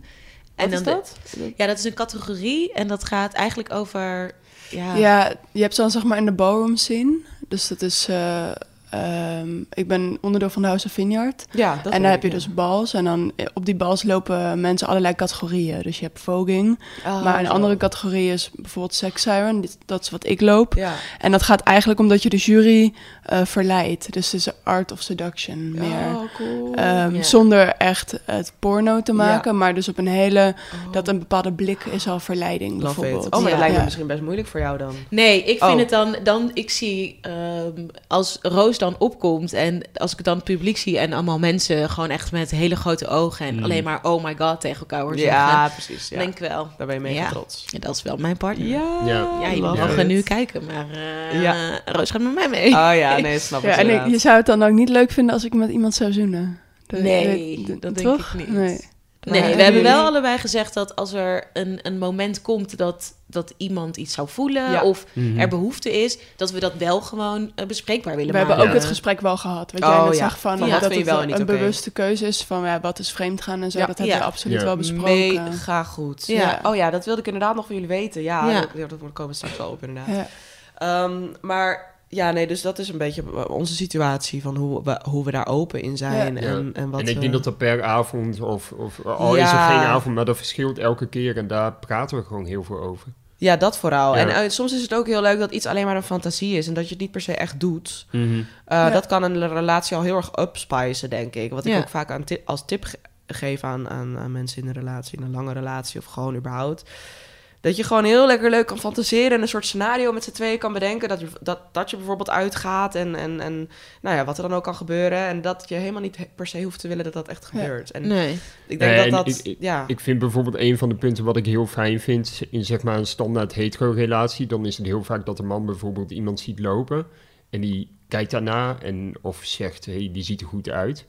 [SPEAKER 4] En
[SPEAKER 1] dan
[SPEAKER 4] is
[SPEAKER 1] de-
[SPEAKER 4] dat?
[SPEAKER 1] ja, dat is een categorie en dat gaat eigenlijk over... Ja,
[SPEAKER 4] Ah.
[SPEAKER 2] Ja, je hebt dan zeg maar in de ballroom scene. Dus dat is... eh, ehm, ik ben onderdeel van de House of Vineyard.
[SPEAKER 4] Ja, dat
[SPEAKER 2] en
[SPEAKER 4] weet
[SPEAKER 2] daar heb je
[SPEAKER 4] ik, ja.
[SPEAKER 2] dus bals. En dan eh, op die bals lopen mensen allerlei categorieën. Dus je hebt voging.
[SPEAKER 4] Ah,
[SPEAKER 2] maar een
[SPEAKER 4] zo.
[SPEAKER 2] andere categorie is bijvoorbeeld sex siren. Dit- Dat is wat ik loop.
[SPEAKER 4] Ja.
[SPEAKER 2] En dat gaat eigenlijk omdat je de jury eh, verleidt. Dus het is art of seduction meer.
[SPEAKER 4] Oh, cool.
[SPEAKER 2] Ehm,
[SPEAKER 1] ja.
[SPEAKER 2] Zonder echt het porno te
[SPEAKER 4] Ja.
[SPEAKER 2] maken, maar dus op een hele...
[SPEAKER 4] Oh.
[SPEAKER 2] Dat een bepaalde blik is al verleiding,
[SPEAKER 4] Love it.
[SPEAKER 2] bijvoorbeeld.
[SPEAKER 4] Oh, maar dat
[SPEAKER 1] Ja.
[SPEAKER 4] lijkt me
[SPEAKER 2] Ja.
[SPEAKER 4] misschien best moeilijk voor jou dan.
[SPEAKER 1] Nee, ik vind
[SPEAKER 4] Oh.
[SPEAKER 1] het dan, dan ik zie ehm, als Roos dan opkomt en als ik dan het publiek zie en allemaal mensen gewoon echt met hele grote ogen en
[SPEAKER 5] Mm.
[SPEAKER 1] alleen maar oh my god tegen elkaar horen zeggen,
[SPEAKER 4] Ja, precies.
[SPEAKER 1] dan
[SPEAKER 4] Ja.
[SPEAKER 1] denk ik wel.
[SPEAKER 4] Daar ben je mega
[SPEAKER 1] Ja.
[SPEAKER 4] trots.
[SPEAKER 1] ja, dat is wel mijn partner.
[SPEAKER 5] Ja.
[SPEAKER 1] Ja, je
[SPEAKER 4] love
[SPEAKER 1] mag
[SPEAKER 5] it.
[SPEAKER 1] er nu kijken, maar eh,
[SPEAKER 4] Ja.
[SPEAKER 1] Roos gaat met mij mee.
[SPEAKER 4] (laughs) Oh ja, nee, snap ik.
[SPEAKER 2] Ja, en ik- je
[SPEAKER 4] inderdaad.
[SPEAKER 2] zou het dan ook niet leuk vinden als ik met iemand zou zoenen. Dat-
[SPEAKER 1] nee,
[SPEAKER 2] dat-
[SPEAKER 1] dat denk
[SPEAKER 2] toch?
[SPEAKER 1] ik niet.
[SPEAKER 2] Nee.
[SPEAKER 1] Nee,
[SPEAKER 2] Maar-
[SPEAKER 1] we hebben wel allebei gezegd dat als er een, een moment komt dat, dat iemand iets zou voelen
[SPEAKER 4] Ja.
[SPEAKER 1] of
[SPEAKER 5] Mhm.
[SPEAKER 1] er behoefte is, dat we dat wel gewoon eh, bespreekbaar willen
[SPEAKER 2] We
[SPEAKER 1] maken.
[SPEAKER 2] hebben ook
[SPEAKER 5] Ja.
[SPEAKER 2] het gesprek wel gehad. Weet
[SPEAKER 4] Oh,
[SPEAKER 2] jij net
[SPEAKER 4] ja.
[SPEAKER 2] zag van
[SPEAKER 1] Van wat
[SPEAKER 2] dat
[SPEAKER 4] vind
[SPEAKER 2] het
[SPEAKER 4] je wel
[SPEAKER 2] een
[SPEAKER 4] en niet oké.
[SPEAKER 2] bewuste keuze is van ja, wat is vreemd gaan en zo.
[SPEAKER 4] Ja.
[SPEAKER 2] Dat hebben
[SPEAKER 1] Ja.
[SPEAKER 2] we absoluut
[SPEAKER 5] Ja.
[SPEAKER 2] wel besproken.
[SPEAKER 4] Mega goed.
[SPEAKER 1] Ja.
[SPEAKER 4] Ja. Oh ja, dat wilde ik inderdaad nog van jullie weten. Ja,
[SPEAKER 1] Ja.
[SPEAKER 4] Dat, ja, dat komen we straks wel op inderdaad.
[SPEAKER 2] Ja.
[SPEAKER 4] Ehm, maar ja, nee, dus dat is een beetje onze situatie van hoe we, hoe we daar open in zijn.
[SPEAKER 5] Ja.
[SPEAKER 4] En, en, wat
[SPEAKER 5] en ik
[SPEAKER 4] we-
[SPEAKER 5] denk dat dat per avond, of, of al is er
[SPEAKER 4] Ja.
[SPEAKER 5] geen avond, maar dat verschilt elke keer. En daar praten we gewoon heel veel over.
[SPEAKER 4] Ja, dat vooral.
[SPEAKER 5] Ja.
[SPEAKER 4] En eh, soms is het ook heel leuk dat iets alleen maar een fantasie is en dat je het niet per se echt doet. Uh,
[SPEAKER 2] Ja.
[SPEAKER 4] Dat kan een relatie al heel erg upspicen, denk ik. Wat
[SPEAKER 1] Ja.
[SPEAKER 4] ik ook vaak aan ti- als tip ge- geef aan, aan, aan mensen in een relatie, in een lange relatie of gewoon überhaupt. Dat je gewoon heel lekker leuk kan fantaseren en een soort scenario met z'n tweeën kan bedenken. Dat je, dat, dat je bijvoorbeeld uitgaat en, en, en nou ja, wat er dan ook kan gebeuren. En dat je helemaal niet he- per se hoeft te willen dat dat echt
[SPEAKER 2] Ja.
[SPEAKER 4] gebeurt. En
[SPEAKER 1] Nee.
[SPEAKER 4] ik denk
[SPEAKER 5] Nee, en
[SPEAKER 4] dat dat,
[SPEAKER 5] ik- ik-
[SPEAKER 4] ja.
[SPEAKER 5] Ik vind bijvoorbeeld een van de punten wat ik heel fijn vind in zeg maar een standaard hetero-relatie, dan is het heel vaak dat de man bijvoorbeeld iemand ziet lopen en die kijkt daarna en of zegt, hé, hey, die ziet er goed uit.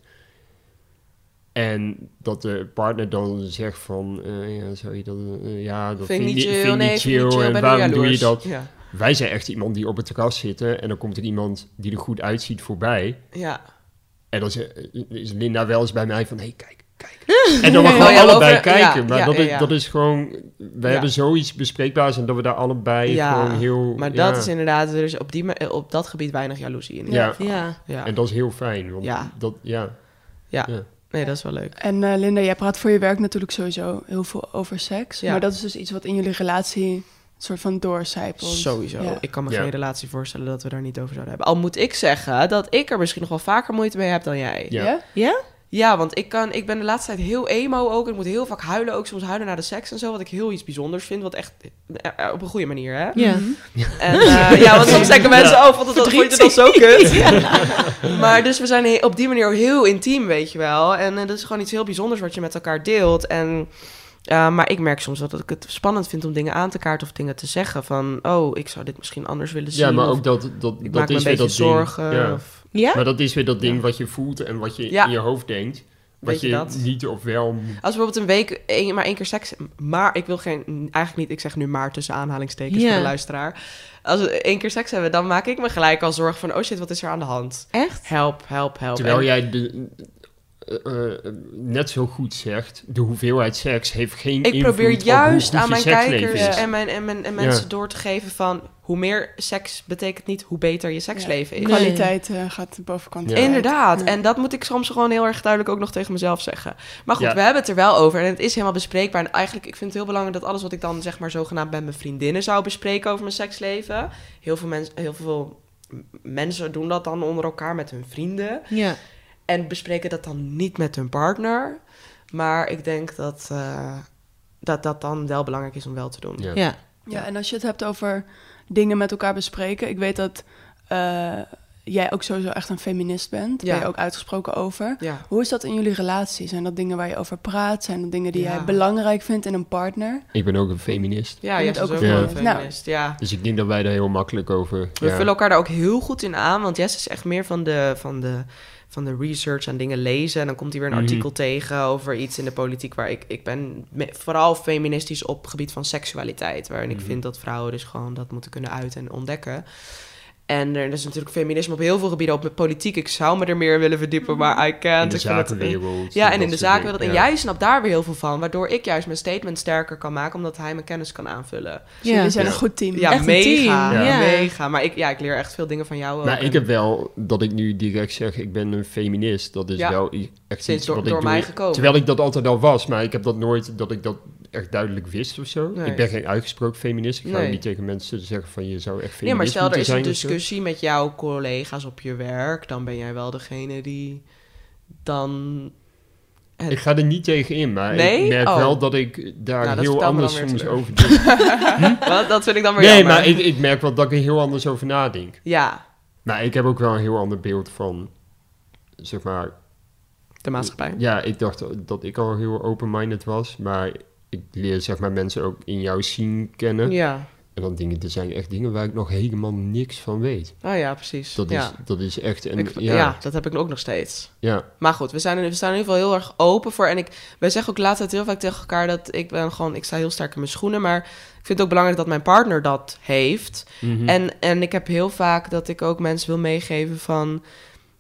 [SPEAKER 5] En dat de partner dan zegt van, eh, ja, zou je dat, eh, ja, dat
[SPEAKER 4] vind ik niet
[SPEAKER 5] je-
[SPEAKER 4] chill, nee, ik vind ik niet chill,
[SPEAKER 5] en
[SPEAKER 4] ben
[SPEAKER 5] waarom
[SPEAKER 4] er
[SPEAKER 5] doe je
[SPEAKER 4] jaloers.
[SPEAKER 5] dat?
[SPEAKER 4] Ja,
[SPEAKER 5] Wij zijn echt iemand die op het terras zitten en dan komt er iemand die er goed uitziet voorbij.
[SPEAKER 4] ja.
[SPEAKER 5] En dan is, is Linda wel eens bij mij van, hé, hey, kijk,
[SPEAKER 4] (laughs)
[SPEAKER 5] kijk. En dan mag
[SPEAKER 4] Ja,
[SPEAKER 5] gewoon
[SPEAKER 4] ja,
[SPEAKER 5] allebei
[SPEAKER 4] over-
[SPEAKER 5] kijken.
[SPEAKER 4] ja,
[SPEAKER 5] maar
[SPEAKER 4] ja,
[SPEAKER 5] dat,
[SPEAKER 4] ja,
[SPEAKER 5] is,
[SPEAKER 4] ja.
[SPEAKER 5] dat is gewoon... We
[SPEAKER 4] Ja.
[SPEAKER 5] hebben zoiets bespreekbaars en dat we daar allebei
[SPEAKER 4] Ja,
[SPEAKER 5] gewoon heel...
[SPEAKER 4] Maar
[SPEAKER 5] ja.
[SPEAKER 4] dat is inderdaad, er is op, die, ma- eh, op dat gebied weinig jaloezie in.
[SPEAKER 5] Ja.
[SPEAKER 1] Ja.
[SPEAKER 4] Ja.
[SPEAKER 5] En dat is heel fijn. Want
[SPEAKER 4] Ja.
[SPEAKER 5] Dat, ja.
[SPEAKER 4] Nee, dat is wel leuk.
[SPEAKER 2] En eh, Linda, jij praat voor je werk natuurlijk sowieso heel veel over seks.
[SPEAKER 4] Ja.
[SPEAKER 2] Maar dat is dus iets wat in jullie relatie een soort van doorcijpelt.
[SPEAKER 4] Sowieso.
[SPEAKER 2] Ja.
[SPEAKER 4] Ik kan me
[SPEAKER 5] Ja.
[SPEAKER 4] geen relatie voorstellen dat we daar niet over zouden hebben. Al moet ik zeggen dat ik er misschien nog wel vaker moeite mee heb dan jij.
[SPEAKER 5] Ja.
[SPEAKER 2] Ja.
[SPEAKER 1] Ja?
[SPEAKER 4] Ja, want ik, kan, ik ben de laatste tijd heel emo ook. Ik moet heel vaak huilen ook. Soms huilen naar de seks en zo. Wat ik heel iets bijzonders vind. Wat echt eh, eh, op een goede manier, hè?
[SPEAKER 1] Ja.
[SPEAKER 4] En,
[SPEAKER 5] (laughs)
[SPEAKER 4] eh, ja, want soms denken mensen, oh, vond, het, dat- vond je het dan zo (laughs) kut? Maar dus we zijn he- op die manier heel intiem, weet je wel. En eh, dat is gewoon iets heel bijzonders wat je met elkaar deelt. En, eh, maar ik merk soms wel dat ik het spannend vind om dingen aan te kaarten of dingen te zeggen. Van, oh, ik zou dit misschien anders willen zien.
[SPEAKER 5] ja, maar
[SPEAKER 4] of
[SPEAKER 5] ook dat, dat,
[SPEAKER 4] ik
[SPEAKER 5] dat
[SPEAKER 4] maak me
[SPEAKER 5] is
[SPEAKER 4] een
[SPEAKER 5] weer
[SPEAKER 4] beetje
[SPEAKER 5] dat
[SPEAKER 4] zorgen.
[SPEAKER 5] ding. Ja.
[SPEAKER 4] of-
[SPEAKER 1] Ja?
[SPEAKER 5] Maar dat is weer dat ding wat je voelt en wat je
[SPEAKER 4] Ja.
[SPEAKER 5] in je hoofd denkt. Wat
[SPEAKER 4] Weet je
[SPEAKER 5] je,
[SPEAKER 4] dat?
[SPEAKER 5] niet of wel... moet-
[SPEAKER 4] Als bijvoorbeeld een week één- maar één keer seks... Maar ik wil geen... Eigenlijk niet, ik zeg nu maar tussen aanhalingstekens
[SPEAKER 1] Ja.
[SPEAKER 4] voor de luisteraar. Als we één keer seks hebben, dan maak ik me gelijk al zorgen van... Oh shit, wat is er aan de hand?
[SPEAKER 1] Echt?
[SPEAKER 4] Help, help, help.
[SPEAKER 5] Terwijl
[SPEAKER 4] En-
[SPEAKER 5] jij de, eh, eh, net zo goed zegt, de hoeveelheid seks heeft geen
[SPEAKER 4] ik
[SPEAKER 5] invloed
[SPEAKER 4] probeer
[SPEAKER 5] op hoe
[SPEAKER 4] juist
[SPEAKER 5] goed je
[SPEAKER 4] aan mijn
[SPEAKER 5] seksleven
[SPEAKER 4] kijkers eh,
[SPEAKER 5] is.
[SPEAKER 4] en, mijn, en, mijn, en
[SPEAKER 5] Ja.
[SPEAKER 4] mensen door te geven van... Hoe meer seks betekent niet hoe beter je seksleven is.
[SPEAKER 1] Nee.
[SPEAKER 2] Kwaliteit eh, gaat de bovenkant.
[SPEAKER 5] Ja.
[SPEAKER 2] uit.
[SPEAKER 4] Inderdaad.
[SPEAKER 2] Ja.
[SPEAKER 4] En dat moet ik soms gewoon heel erg duidelijk ook nog tegen mezelf zeggen. Maar goed,
[SPEAKER 5] Ja.
[SPEAKER 4] we hebben het er wel over. En het is helemaal bespreekbaar. En eigenlijk, ik vind het heel belangrijk dat alles wat ik dan zeg maar zogenaamd met mijn vriendinnen zou bespreken over mijn seksleven. Heel veel, mensen, heel veel m- mensen doen dat dan onder elkaar met hun vrienden.
[SPEAKER 1] Ja.
[SPEAKER 4] En bespreken dat dan niet met hun partner. Maar ik denk dat eh, dat, dat dan wel belangrijk is om wel te doen.
[SPEAKER 5] Ja.
[SPEAKER 1] Ja.
[SPEAKER 2] Ja, en als je het hebt over dingen met elkaar bespreken. Ik weet dat eh, jij ook sowieso echt een feminist bent. Daar
[SPEAKER 4] Ja.
[SPEAKER 2] ben je ook uitgesproken over.
[SPEAKER 4] Ja.
[SPEAKER 2] Hoe is dat in jullie relatie? Zijn dat dingen waar je over praat? Zijn dat dingen die
[SPEAKER 4] Ja.
[SPEAKER 2] jij belangrijk vindt in een partner?
[SPEAKER 5] Ik ben ook een feminist.
[SPEAKER 4] Ja,
[SPEAKER 2] Je
[SPEAKER 4] je
[SPEAKER 2] bent
[SPEAKER 4] hebt dus ook
[SPEAKER 2] ook
[SPEAKER 4] een
[SPEAKER 5] een
[SPEAKER 4] feminist.
[SPEAKER 2] feminist.
[SPEAKER 4] Ja.
[SPEAKER 5] Dus ik denk dat wij daar heel makkelijk over...
[SPEAKER 4] We
[SPEAKER 5] ja.
[SPEAKER 4] vullen elkaar daar ook heel goed in aan. Want Jess is echt meer van de, van de, van de research en dingen lezen. En dan komt hij weer een
[SPEAKER 5] Mhm.
[SPEAKER 4] artikel tegen over iets in de politiek waar ik... Ik ben me- vooral feministisch op het gebied van seksualiteit. Waarin
[SPEAKER 5] Mhm.
[SPEAKER 4] ik vind dat vrouwen dus gewoon dat moeten kunnen uiten en ontdekken. En er is natuurlijk feminisme op heel veel gebieden, ook met politiek. Ik zou me er meer in willen verdiepen, maar I can't.
[SPEAKER 5] in de
[SPEAKER 4] Ik vind het-
[SPEAKER 5] zakenwereld.
[SPEAKER 4] ja, en
[SPEAKER 5] dat
[SPEAKER 4] in de
[SPEAKER 5] soort
[SPEAKER 4] zakenwereld. En
[SPEAKER 5] dingen.
[SPEAKER 4] jij snapt daar weer heel veel van, waardoor ik juist mijn statement sterker kan maken, omdat hij mijn kennis kan aanvullen.
[SPEAKER 2] Dus jullie zijn
[SPEAKER 5] Ja.
[SPEAKER 2] een goed team.
[SPEAKER 4] Ja,
[SPEAKER 1] Echt een
[SPEAKER 4] mega.
[SPEAKER 1] team, ja.
[SPEAKER 4] mega. Maar ik, ja, ik leer echt veel dingen van jou. ook.
[SPEAKER 5] Maar Nou, ik
[SPEAKER 4] En
[SPEAKER 5] heb wel dat ik nu direct zeg, ik ben een feminist. Dat is
[SPEAKER 4] Ja.
[SPEAKER 5] wel i- echt
[SPEAKER 4] Sinds
[SPEAKER 5] iets
[SPEAKER 4] door-
[SPEAKER 5] wat
[SPEAKER 4] door
[SPEAKER 5] ik doe.
[SPEAKER 4] mij gekomen.
[SPEAKER 5] Terwijl ik dat altijd al was, maar ik heb dat nooit dat ik dat echt duidelijk wist of zo.
[SPEAKER 4] Nee.
[SPEAKER 5] Ik ben geen uitgesproken feminist. Ik ga
[SPEAKER 4] Nee.
[SPEAKER 5] ook niet tegen mensen zeggen van je zou echt feminist
[SPEAKER 4] Nee, maar stel er
[SPEAKER 5] moeten
[SPEAKER 4] is een
[SPEAKER 5] zijn of zo.
[SPEAKER 4] discussie met jouw collega's op je werk, dan ben jij wel degene die dan. het-
[SPEAKER 5] Ik ga er niet tegen in, maar
[SPEAKER 4] Nee?
[SPEAKER 5] ik merk
[SPEAKER 4] Oh.
[SPEAKER 5] wel dat ik daar
[SPEAKER 4] Nou, dat
[SPEAKER 5] heel
[SPEAKER 4] vertel me dan
[SPEAKER 5] anders
[SPEAKER 4] weer
[SPEAKER 5] soms
[SPEAKER 4] terug. (laughs)
[SPEAKER 5] over denk.
[SPEAKER 4] Wat? dat vind ik dan weer
[SPEAKER 5] Nee,
[SPEAKER 4] jammer.
[SPEAKER 5] maar ik, ik merk wel dat ik er heel anders over nadenk.
[SPEAKER 4] Ja,
[SPEAKER 5] Maar Nou, ik heb ook wel een heel ander beeld van, zeg maar,
[SPEAKER 4] de maatschappij.
[SPEAKER 5] Ja, ik dacht dat ik al heel open-minded was, maar ik leer zeg maar mensen ook in jouw zien kennen.
[SPEAKER 4] Ja,
[SPEAKER 5] En dan dingen, er zijn echt dingen waar ik nog helemaal niks van weet.
[SPEAKER 4] oh ja, precies.
[SPEAKER 5] Dat is,
[SPEAKER 4] ja.
[SPEAKER 5] dat is echt een,
[SPEAKER 4] Ik-
[SPEAKER 5] ja,
[SPEAKER 4] ja,
[SPEAKER 5] ja,
[SPEAKER 4] dat heb ik ook nog steeds. (laughs) Maar goed, we zijn, er- we staan in ieder geval heel erg open voor. En ik, wij zeggen ook laatst heel vaak tegen elkaar dat ik ben gewoon, ik sta heel sterk in mijn schoenen. Maar ik vind het ook belangrijk dat mijn partner dat heeft.
[SPEAKER 5] Mhm.
[SPEAKER 4] En, en ik heb heel vaak dat ik ook mensen wil meegeven van...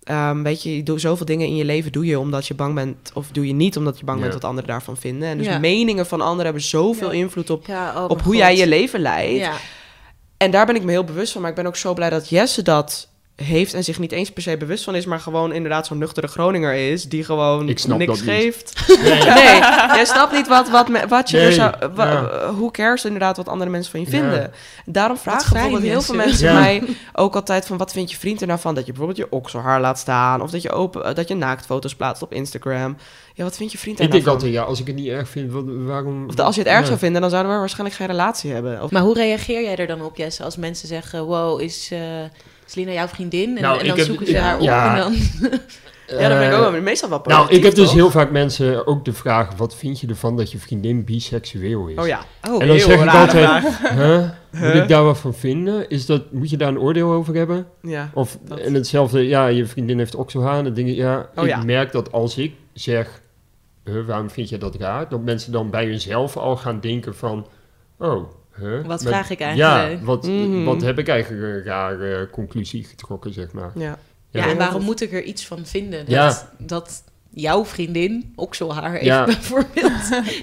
[SPEAKER 4] ehm, weet je, je doet zoveel dingen in je leven doe je omdat je bang bent... of doe je niet omdat je bang
[SPEAKER 5] Ja.
[SPEAKER 4] bent wat anderen daarvan vinden. En dus
[SPEAKER 1] Ja.
[SPEAKER 4] meningen van anderen hebben zoveel
[SPEAKER 2] Ja.
[SPEAKER 4] invloed op,
[SPEAKER 1] Ja, oh
[SPEAKER 4] op
[SPEAKER 1] mijn
[SPEAKER 4] hoe
[SPEAKER 1] God.
[SPEAKER 4] jij je leven leidt.
[SPEAKER 1] Ja.
[SPEAKER 4] En daar ben ik me heel bewust van. Maar ik ben ook zo blij dat Jesse dat heeft en zich niet eens per se bewust van is, maar gewoon inderdaad zo'n nuchtere Groninger is, die gewoon
[SPEAKER 5] Ik snap
[SPEAKER 4] niks
[SPEAKER 5] dat niet.
[SPEAKER 4] geeft.
[SPEAKER 5] (laughs)
[SPEAKER 4] Nee, jij snapt niet wat, wat, me- wat je
[SPEAKER 5] Nee,
[SPEAKER 4] er zou... wa-
[SPEAKER 5] ja.
[SPEAKER 4] Hoe cares inderdaad wat andere mensen van je
[SPEAKER 5] Ja.
[SPEAKER 4] vinden. Daarom vragen
[SPEAKER 2] fijn,
[SPEAKER 4] bijvoorbeeld heel veel
[SPEAKER 2] mensen.
[SPEAKER 4] mensen
[SPEAKER 5] Ja.
[SPEAKER 4] mij ook altijd van... wat vindt je vriend er nou van dat je bijvoorbeeld je okselhaar laat staan... of dat je, open, eh, dat je naaktfoto's plaatst op Instagram. Ja, wat vind je vriend daar
[SPEAKER 5] Ik
[SPEAKER 4] nou
[SPEAKER 5] denk
[SPEAKER 4] van?
[SPEAKER 5] altijd, ja, als ik het niet erg vind, wat, waarom...
[SPEAKER 4] Of de- als je het erg
[SPEAKER 5] Ja.
[SPEAKER 4] zou vinden, dan zouden we waarschijnlijk geen relatie hebben. Of,
[SPEAKER 1] Maar hoe reageer jij er dan op, Jesse, als mensen zeggen... wow, is, eh, is Lina jouw vriendin? En,
[SPEAKER 5] Nou,
[SPEAKER 1] en
[SPEAKER 5] ik
[SPEAKER 1] dan
[SPEAKER 5] heb-
[SPEAKER 1] zoeken
[SPEAKER 5] ik-
[SPEAKER 1] ze haar op
[SPEAKER 5] ja.
[SPEAKER 1] en dan...
[SPEAKER 4] ja, dan ben ik
[SPEAKER 5] Eh,
[SPEAKER 4] ook wel meestal wel
[SPEAKER 5] Nou, ik heb dus
[SPEAKER 4] toch?
[SPEAKER 5] heel vaak mensen ook de vraag... wat vind je ervan dat je vriendin biseksueel is?
[SPEAKER 4] Oh ja.
[SPEAKER 1] Oh,
[SPEAKER 5] En dan
[SPEAKER 4] Heel
[SPEAKER 5] zeg ik
[SPEAKER 4] rare
[SPEAKER 5] altijd,
[SPEAKER 4] vraag.
[SPEAKER 5] huh? moet ik daar wat van vinden? Is dat, moet je daar een oordeel over hebben?
[SPEAKER 4] Ja.
[SPEAKER 5] Of,
[SPEAKER 4] Dat-
[SPEAKER 5] en hetzelfde, ja, je vriendin heeft okselhaar. Dan denk ik, ja,
[SPEAKER 4] Oh
[SPEAKER 5] ik
[SPEAKER 4] ja.
[SPEAKER 5] merk dat als ik zeg, huh, waarom vind je dat raar? Dat mensen dan bij hunzelf al gaan denken van, oh, huh?
[SPEAKER 1] Wat
[SPEAKER 5] maar-
[SPEAKER 1] vraag ik eigenlijk?
[SPEAKER 5] Ja, wat,
[SPEAKER 4] Mhm.
[SPEAKER 5] wat heb ik eigenlijk een rare conclusie getrokken, zeg maar.
[SPEAKER 4] Ja.
[SPEAKER 1] Ja,
[SPEAKER 5] Ja.
[SPEAKER 1] en waarom moet ik er iets van vinden? Dat,
[SPEAKER 5] Ja.
[SPEAKER 1] dat jouw vriendin, okselhaar heeft (laughs)
[SPEAKER 5] Ja.
[SPEAKER 1] bijvoorbeeld...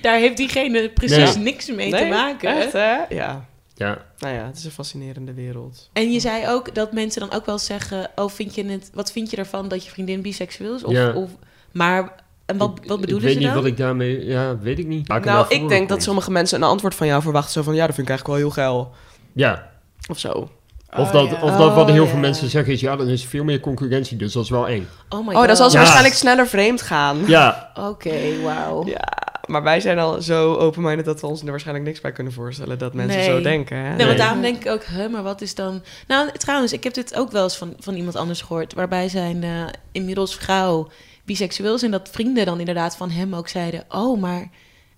[SPEAKER 1] daar heeft diegene precies niks mee te
[SPEAKER 4] Nee,
[SPEAKER 1] maken.
[SPEAKER 4] Echt, hè? Ja.
[SPEAKER 5] Ja,
[SPEAKER 4] Nou ja, het is een fascinerende wereld.
[SPEAKER 1] En je zei ook dat mensen dan ook wel zeggen... oh, vind je het, wat vind je ervan dat je vriendin biseksueel is? Of,
[SPEAKER 5] Ja.
[SPEAKER 1] of, maar en wat,
[SPEAKER 5] Ik-
[SPEAKER 1] wat bedoelen
[SPEAKER 5] Ik weet
[SPEAKER 1] ze
[SPEAKER 5] niet
[SPEAKER 1] dan?
[SPEAKER 5] wat ik daarmee... Ja, weet ik niet. Maak het naar
[SPEAKER 4] nou, ik
[SPEAKER 5] voren
[SPEAKER 4] denk dat
[SPEAKER 5] komt.
[SPEAKER 4] sommige mensen een antwoord van jou verwachten. Zo van, ja, dat vind ik eigenlijk wel heel geil.
[SPEAKER 5] Ja,
[SPEAKER 4] Of zo.
[SPEAKER 5] of,
[SPEAKER 2] Oh,
[SPEAKER 5] dat,
[SPEAKER 2] ja.
[SPEAKER 5] of dat wat
[SPEAKER 4] Oh,
[SPEAKER 5] heel
[SPEAKER 4] ja.
[SPEAKER 5] veel mensen zeggen is... Ja, dan is er veel meer concurrentie, dus dat is wel eng.
[SPEAKER 1] Oh my
[SPEAKER 4] oh, dan zal ze
[SPEAKER 5] Ja.
[SPEAKER 4] waarschijnlijk sneller vreemd gaan.
[SPEAKER 5] Ja,
[SPEAKER 1] Oké, wauw.
[SPEAKER 4] Ja, maar wij zijn al zo open-minded dat we ons er waarschijnlijk niks bij kunnen voorstellen dat mensen
[SPEAKER 1] Nee.
[SPEAKER 4] zo denken. Hè?
[SPEAKER 1] Nee,
[SPEAKER 5] Nee.
[SPEAKER 1] want daarom denk ik ook, hè, maar wat is dan... Nou, trouwens, ik heb dit ook wel eens van, van iemand anders gehoord... waarbij zijn eh, inmiddels vrouw biseksueel is... en dat vrienden dan inderdaad van hem ook zeiden... oh, maar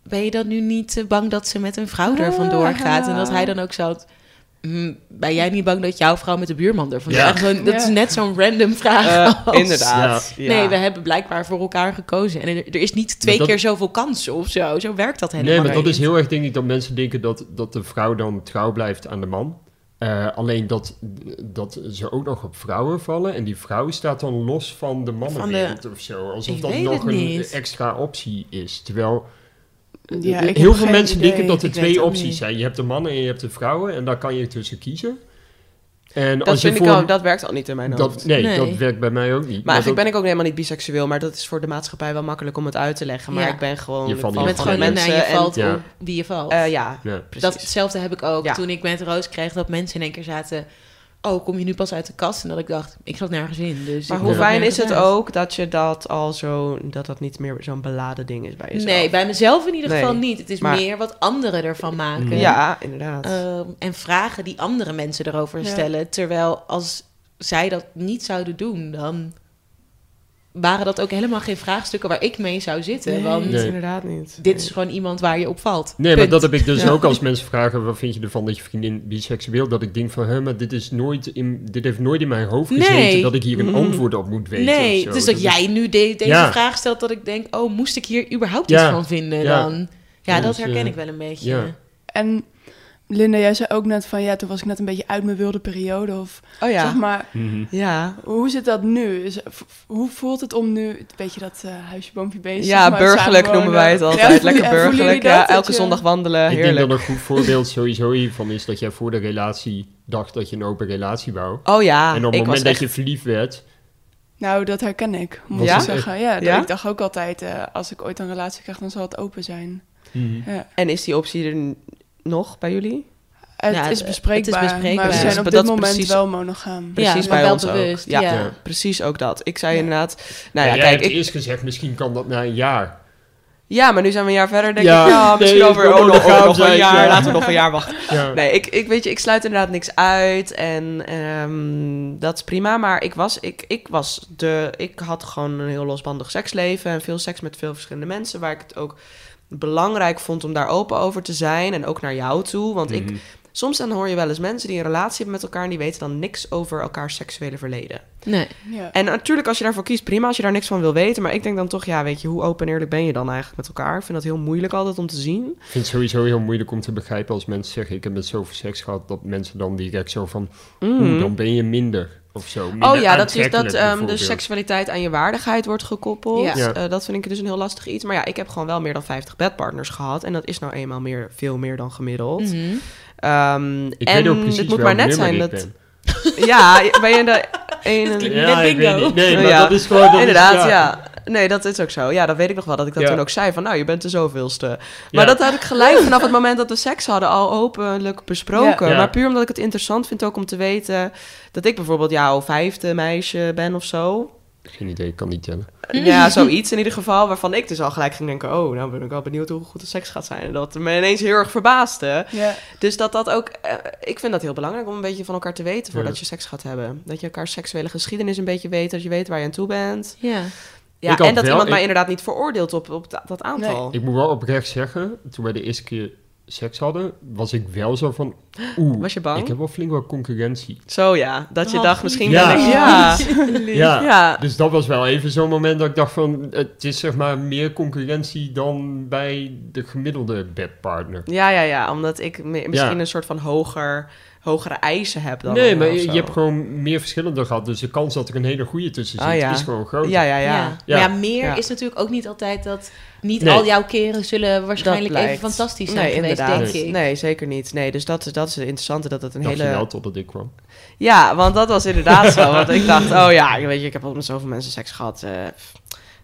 [SPEAKER 1] ben je dan nu niet eh, bang dat ze met een vrouw er vandoor gaat? En dat hij dan ook zo... "Hmm, ben jij niet bang dat jouw vrouw met de buurman er vandoor
[SPEAKER 5] Ja.
[SPEAKER 1] gaat? Gewoon, Dat is
[SPEAKER 2] Ja.
[SPEAKER 1] net zo'n random vraag.
[SPEAKER 4] Eh,
[SPEAKER 1] als-
[SPEAKER 4] inderdaad. Ja.
[SPEAKER 1] Nee, we hebben blijkbaar voor elkaar gekozen. En er, er is niet twee
[SPEAKER 5] dat-
[SPEAKER 1] keer zoveel kans of zo. Zo werkt dat helemaal
[SPEAKER 5] nee, maar dat
[SPEAKER 1] niet.
[SPEAKER 5] is heel erg denk ik dat mensen denken dat, dat de vrouw dan trouw blijft aan de man. Eh, alleen dat, dat ze ook nog op vrouwen vallen. En die vrouw staat dan los van de mannenwereld of zo. Alsof
[SPEAKER 1] Ik
[SPEAKER 5] dat
[SPEAKER 1] weet
[SPEAKER 5] nog
[SPEAKER 1] het
[SPEAKER 5] een
[SPEAKER 1] niet.
[SPEAKER 5] extra optie is. Terwijl
[SPEAKER 2] Ja, ik heb
[SPEAKER 5] heel veel
[SPEAKER 2] geen
[SPEAKER 5] mensen
[SPEAKER 2] idee.
[SPEAKER 5] denken dat er
[SPEAKER 1] Ik weet
[SPEAKER 5] twee
[SPEAKER 1] het ook
[SPEAKER 5] opties
[SPEAKER 1] niet.
[SPEAKER 5] zijn. Je hebt de mannen en je hebt de vrouwen. En daar kan je tussen kiezen. En
[SPEAKER 4] Dat
[SPEAKER 5] als je
[SPEAKER 4] vind
[SPEAKER 5] voor...
[SPEAKER 4] ik ook, dat werkt al niet in mijn hoofd.
[SPEAKER 5] dat, nee,
[SPEAKER 1] Nee.
[SPEAKER 5] dat werkt bij mij ook niet.
[SPEAKER 4] Maar eigenlijk
[SPEAKER 5] dat-
[SPEAKER 4] ben ik ook helemaal niet biseksueel, maar dat is voor de maatschappij wel makkelijk om het uit te leggen. Maar
[SPEAKER 1] Ja.
[SPEAKER 4] ik ben gewoon...
[SPEAKER 5] Je
[SPEAKER 4] ik
[SPEAKER 5] valt
[SPEAKER 4] val
[SPEAKER 1] Je
[SPEAKER 5] niet
[SPEAKER 1] bent
[SPEAKER 5] van
[SPEAKER 1] gewoon
[SPEAKER 5] de
[SPEAKER 1] een en je valt
[SPEAKER 5] Ja.
[SPEAKER 1] op wie je valt.
[SPEAKER 4] Eh, ja,
[SPEAKER 5] Ja.
[SPEAKER 4] precies.
[SPEAKER 1] Datzelfde heb ik ook.
[SPEAKER 4] Ja.
[SPEAKER 1] Toen ik met Roos kreeg dat mensen in één keer zaten... Oh, kom je nu pas uit de kast? En dat ik dacht, ik zat nergens in. Dus
[SPEAKER 4] Maar
[SPEAKER 1] ik
[SPEAKER 4] hoe
[SPEAKER 1] kom
[SPEAKER 4] fijn is
[SPEAKER 1] nergens
[SPEAKER 4] het
[SPEAKER 1] uit.
[SPEAKER 4] ook dat je dat al zo... dat dat niet meer zo'n beladen ding is bij jezelf.
[SPEAKER 1] Nee, bij mezelf in ieder
[SPEAKER 4] Nee,
[SPEAKER 1] geval niet. Het is
[SPEAKER 4] maar-
[SPEAKER 1] meer wat anderen ervan maken.
[SPEAKER 4] Ja, inderdaad.
[SPEAKER 1] Ehm, en vragen die andere mensen erover
[SPEAKER 2] Ja.
[SPEAKER 1] stellen. Terwijl als zij dat niet zouden doen, dan waren dat ook helemaal geen vraagstukken waar ik mee zou zitten. want
[SPEAKER 5] Nee.
[SPEAKER 4] inderdaad niet.
[SPEAKER 1] dit is gewoon iemand waar je op valt.
[SPEAKER 5] Nee,
[SPEAKER 1] Punt.
[SPEAKER 5] maar dat heb ik dus ook als mensen vragen: wat vind je ervan dat je vriendin biseksueel? Dat ik denk van, hè, maar dit, is nooit in, dit heeft nooit in mijn hoofd gezeten
[SPEAKER 1] Nee.
[SPEAKER 5] dat ik hier een
[SPEAKER 4] Mhm.
[SPEAKER 5] antwoord op moet weten.
[SPEAKER 1] Nee,
[SPEAKER 5] of zo.
[SPEAKER 1] dus dat,
[SPEAKER 5] is-
[SPEAKER 1] jij nu de- deze
[SPEAKER 5] Ja.
[SPEAKER 1] vraag stelt dat ik denk, oh, moest ik hier überhaupt
[SPEAKER 5] Ja,
[SPEAKER 1] iets van vinden
[SPEAKER 5] ja.
[SPEAKER 1] dan? Ja,
[SPEAKER 5] Dus,
[SPEAKER 1] dat herken
[SPEAKER 5] eh,
[SPEAKER 1] ik wel een beetje.
[SPEAKER 5] ja.
[SPEAKER 2] En Linda, jij zei ook net van ja, toen was ik net een beetje uit mijn wilde periode. Of
[SPEAKER 4] Oh ja.
[SPEAKER 2] zeg maar,
[SPEAKER 5] Mhm.
[SPEAKER 4] Ja,
[SPEAKER 2] hoe zit dat nu? Is, v- hoe voelt het om nu, een beetje dat eh, huisje, boompje, beest?
[SPEAKER 4] ja
[SPEAKER 2] zeg maar,
[SPEAKER 4] burgerlijk
[SPEAKER 2] samenwonen?
[SPEAKER 4] noemen wij het
[SPEAKER 2] Ja,
[SPEAKER 4] altijd.
[SPEAKER 2] voel je-
[SPEAKER 4] Lekker
[SPEAKER 2] en voelen jullie
[SPEAKER 4] burgerlijk.
[SPEAKER 2] dat,
[SPEAKER 4] Ja,
[SPEAKER 2] dat
[SPEAKER 4] elke
[SPEAKER 2] je-
[SPEAKER 4] zondag wandelen.
[SPEAKER 5] Ik denk dat
[SPEAKER 4] Heerlijk.
[SPEAKER 5] een goed voorbeeld sowieso hiervan is dat jij voor de relatie dacht dat je een open relatie wou.
[SPEAKER 4] Oh ja,
[SPEAKER 5] en op het
[SPEAKER 4] ik
[SPEAKER 5] moment
[SPEAKER 4] was
[SPEAKER 5] dat
[SPEAKER 4] echt...
[SPEAKER 5] je verliefd werd,
[SPEAKER 2] Nou, dat herken ik, moet
[SPEAKER 4] Ja?
[SPEAKER 2] ik zeggen. Ja, dat-
[SPEAKER 4] Ja?
[SPEAKER 2] ik dacht ook altijd, eh, als ik ooit een relatie krijg, dan zal het open zijn. Ja.
[SPEAKER 4] En is die optie er n- nog bij jullie?
[SPEAKER 2] Het,
[SPEAKER 1] Ja, het-
[SPEAKER 2] is bespreekbaar,
[SPEAKER 1] het is bespreekbaar.
[SPEAKER 2] maar we
[SPEAKER 4] Ja.
[SPEAKER 2] zijn
[SPEAKER 4] Maar
[SPEAKER 2] op
[SPEAKER 4] dat
[SPEAKER 2] dit
[SPEAKER 4] is
[SPEAKER 2] moment
[SPEAKER 4] precies-
[SPEAKER 2] wel monogaam.
[SPEAKER 4] Precies
[SPEAKER 1] maar
[SPEAKER 4] bij
[SPEAKER 1] wel
[SPEAKER 4] ons
[SPEAKER 1] bewust,
[SPEAKER 4] ook. Ja,
[SPEAKER 1] ja.
[SPEAKER 4] precies ook dat. Ik zei inderdaad... Nou
[SPEAKER 5] ja,
[SPEAKER 4] ja,
[SPEAKER 5] jij
[SPEAKER 4] kijk,
[SPEAKER 5] hebt
[SPEAKER 4] ik,
[SPEAKER 5] eerst gezegd, misschien kan dat na een jaar.
[SPEAKER 4] ja, maar nu zijn we een jaar verder. denk
[SPEAKER 5] Ja,
[SPEAKER 4] ik, ja,
[SPEAKER 5] nee,
[SPEAKER 4] misschien
[SPEAKER 5] het
[SPEAKER 4] over
[SPEAKER 5] moet
[SPEAKER 4] oh,
[SPEAKER 5] nog
[SPEAKER 4] nog, oh,
[SPEAKER 5] gaan
[SPEAKER 4] nog een
[SPEAKER 5] zijn,
[SPEAKER 4] jaar.
[SPEAKER 5] ja.
[SPEAKER 4] Laten we nog een jaar wachten.
[SPEAKER 5] Ja.
[SPEAKER 4] Nee, ik, ik weet je, ik sluit inderdaad niks uit en ehm, dat is prima. Maar ik was, ik, ik was de, ik had gewoon een heel losbandig seksleven en veel seks met veel verschillende mensen, waar ik het ook belangrijk vond om daar open over te zijn en ook naar jou toe, want
[SPEAKER 5] Mhm.
[SPEAKER 4] ik. Soms dan hoor je wel eens mensen die een relatie hebben met elkaar en die weten dan niks over elkaars seksuele verleden.
[SPEAKER 1] Nee.
[SPEAKER 2] Ja.
[SPEAKER 4] En natuurlijk, als je daarvoor kiest, prima als je daar niks van wil weten. Maar ik denk dan toch, ja, weet je, hoe open en eerlijk ben je dan eigenlijk met elkaar? Ik vind dat heel moeilijk altijd om te zien.
[SPEAKER 5] Ik vind het sowieso heel moeilijk om te begrijpen als mensen zeggen, ik heb met zoveel seks gehad, dat mensen dan direct zo van, "Oeh, dan ben je minder of zo.
[SPEAKER 4] Mhm. Oh
[SPEAKER 5] minder
[SPEAKER 4] ja, dat is dat
[SPEAKER 5] aantrekkelijk
[SPEAKER 4] ehm, de
[SPEAKER 5] bijvoorbeeld.
[SPEAKER 4] seksualiteit aan je waardigheid wordt gekoppeld.
[SPEAKER 1] Ja.
[SPEAKER 5] Ja.
[SPEAKER 4] Eh, dat vind ik dus een heel lastig iets. Maar ja, ik heb gewoon wel meer dan 50 bedpartners gehad. En dat is nou eenmaal meer, veel meer dan gemiddeld.
[SPEAKER 1] Mhm.
[SPEAKER 4] Ehm,
[SPEAKER 5] Ik
[SPEAKER 4] en
[SPEAKER 5] weet ook precies
[SPEAKER 4] het moet
[SPEAKER 5] welk
[SPEAKER 4] maar net
[SPEAKER 5] nummer
[SPEAKER 4] zijn
[SPEAKER 5] ik
[SPEAKER 4] (laughs) dat.
[SPEAKER 5] ben.
[SPEAKER 1] (laughs)
[SPEAKER 4] Ja, ben je in de. één en-
[SPEAKER 1] Dit klinkt- Net
[SPEAKER 5] ik weet
[SPEAKER 1] bingo.
[SPEAKER 5] niet. Nee,
[SPEAKER 4] Nou
[SPEAKER 5] maar
[SPEAKER 4] ja,
[SPEAKER 5] dat is gewoon... Dat
[SPEAKER 4] Inderdaad,
[SPEAKER 5] is,
[SPEAKER 4] ja. Nee, dat is ook zo. Ja, dat weet ik nog wel, dat ik dat
[SPEAKER 5] Ja.
[SPEAKER 4] toen ook zei. Van, nou, je bent de zoveelste.
[SPEAKER 5] Ja.
[SPEAKER 4] Maar dat had ik gelijk vanaf het moment dat we seks hadden al openlijk besproken.
[SPEAKER 5] Ja. Ja.
[SPEAKER 4] Maar puur omdat ik het interessant vind ook om te weten... dat ik bijvoorbeeld jouw vijfde meisje ben of zo.
[SPEAKER 5] Geen idee, ik kan niet tellen.
[SPEAKER 4] Ja, zoiets in ieder geval. Waarvan ik dus al gelijk ging denken... oh, nou ben ik wel benieuwd hoe goed de seks gaat zijn. En dat me ineens heel erg verbaasde.
[SPEAKER 2] Ja.
[SPEAKER 4] Dus dat dat ook... eh, ik vind dat heel belangrijk om een beetje van elkaar te weten... voordat
[SPEAKER 5] Ja.
[SPEAKER 4] je seks gaat hebben. Dat je elkaar seksuele geschiedenis een beetje weet. Dat je weet waar je aan toe bent.
[SPEAKER 1] Ja.
[SPEAKER 4] Ja,
[SPEAKER 5] Ik had
[SPEAKER 4] en dat
[SPEAKER 5] wel-
[SPEAKER 4] iemand mij
[SPEAKER 5] ik-
[SPEAKER 4] inderdaad niet veroordeelt op, op da- dat aantal.
[SPEAKER 5] Ik moet wel oprecht zeggen, toen wij de eerste keer seks hadden, was ik wel zo van... Oeh,
[SPEAKER 4] Was je bang?
[SPEAKER 5] ik heb wel flink wat concurrentie.
[SPEAKER 4] Zo ja, dat je
[SPEAKER 1] Oh,
[SPEAKER 4] dacht misschien
[SPEAKER 5] ja.
[SPEAKER 4] ben ik... Ja,
[SPEAKER 1] (laughs)
[SPEAKER 5] Ja.
[SPEAKER 4] ja.
[SPEAKER 5] Dus dat was wel even zo'n moment dat ik dacht van... Het is zeg maar meer concurrentie dan bij de gemiddelde bedpartner.
[SPEAKER 4] ja, ja, ja. Omdat ik me- misschien
[SPEAKER 5] Ja.
[SPEAKER 4] een soort van hoger, hogere eisen heb dan
[SPEAKER 5] Nee, maar
[SPEAKER 4] anderen
[SPEAKER 5] je,
[SPEAKER 4] of
[SPEAKER 5] je
[SPEAKER 4] zo.
[SPEAKER 5] hebt gewoon meer verschillende gehad. Dus de kans dat er een hele goede tussen zit,
[SPEAKER 4] Ah, ja.
[SPEAKER 5] is gewoon groot.
[SPEAKER 4] Ja, ja, ja.
[SPEAKER 1] Ja.
[SPEAKER 5] Ja.
[SPEAKER 1] Maar ja, meer
[SPEAKER 4] Ja.
[SPEAKER 1] is natuurlijk ook niet altijd dat... Niet
[SPEAKER 5] Nee.
[SPEAKER 1] al jouw keren zullen waarschijnlijk
[SPEAKER 4] Dat
[SPEAKER 1] even
[SPEAKER 4] blijkt.
[SPEAKER 1] fantastisch zijn geweest,
[SPEAKER 4] inderdaad.
[SPEAKER 1] denk ik.
[SPEAKER 4] Nee, zeker niet. Nee, dus dat, dat is het interessante, dat het een
[SPEAKER 5] Dacht
[SPEAKER 4] hele...
[SPEAKER 5] je wel totdat ik kwam.
[SPEAKER 4] Ja, want dat was inderdaad
[SPEAKER 5] (laughs)
[SPEAKER 4] zo. Want ik dacht, oh ja, weet je, ik heb al met zoveel mensen seks gehad. eh, pff.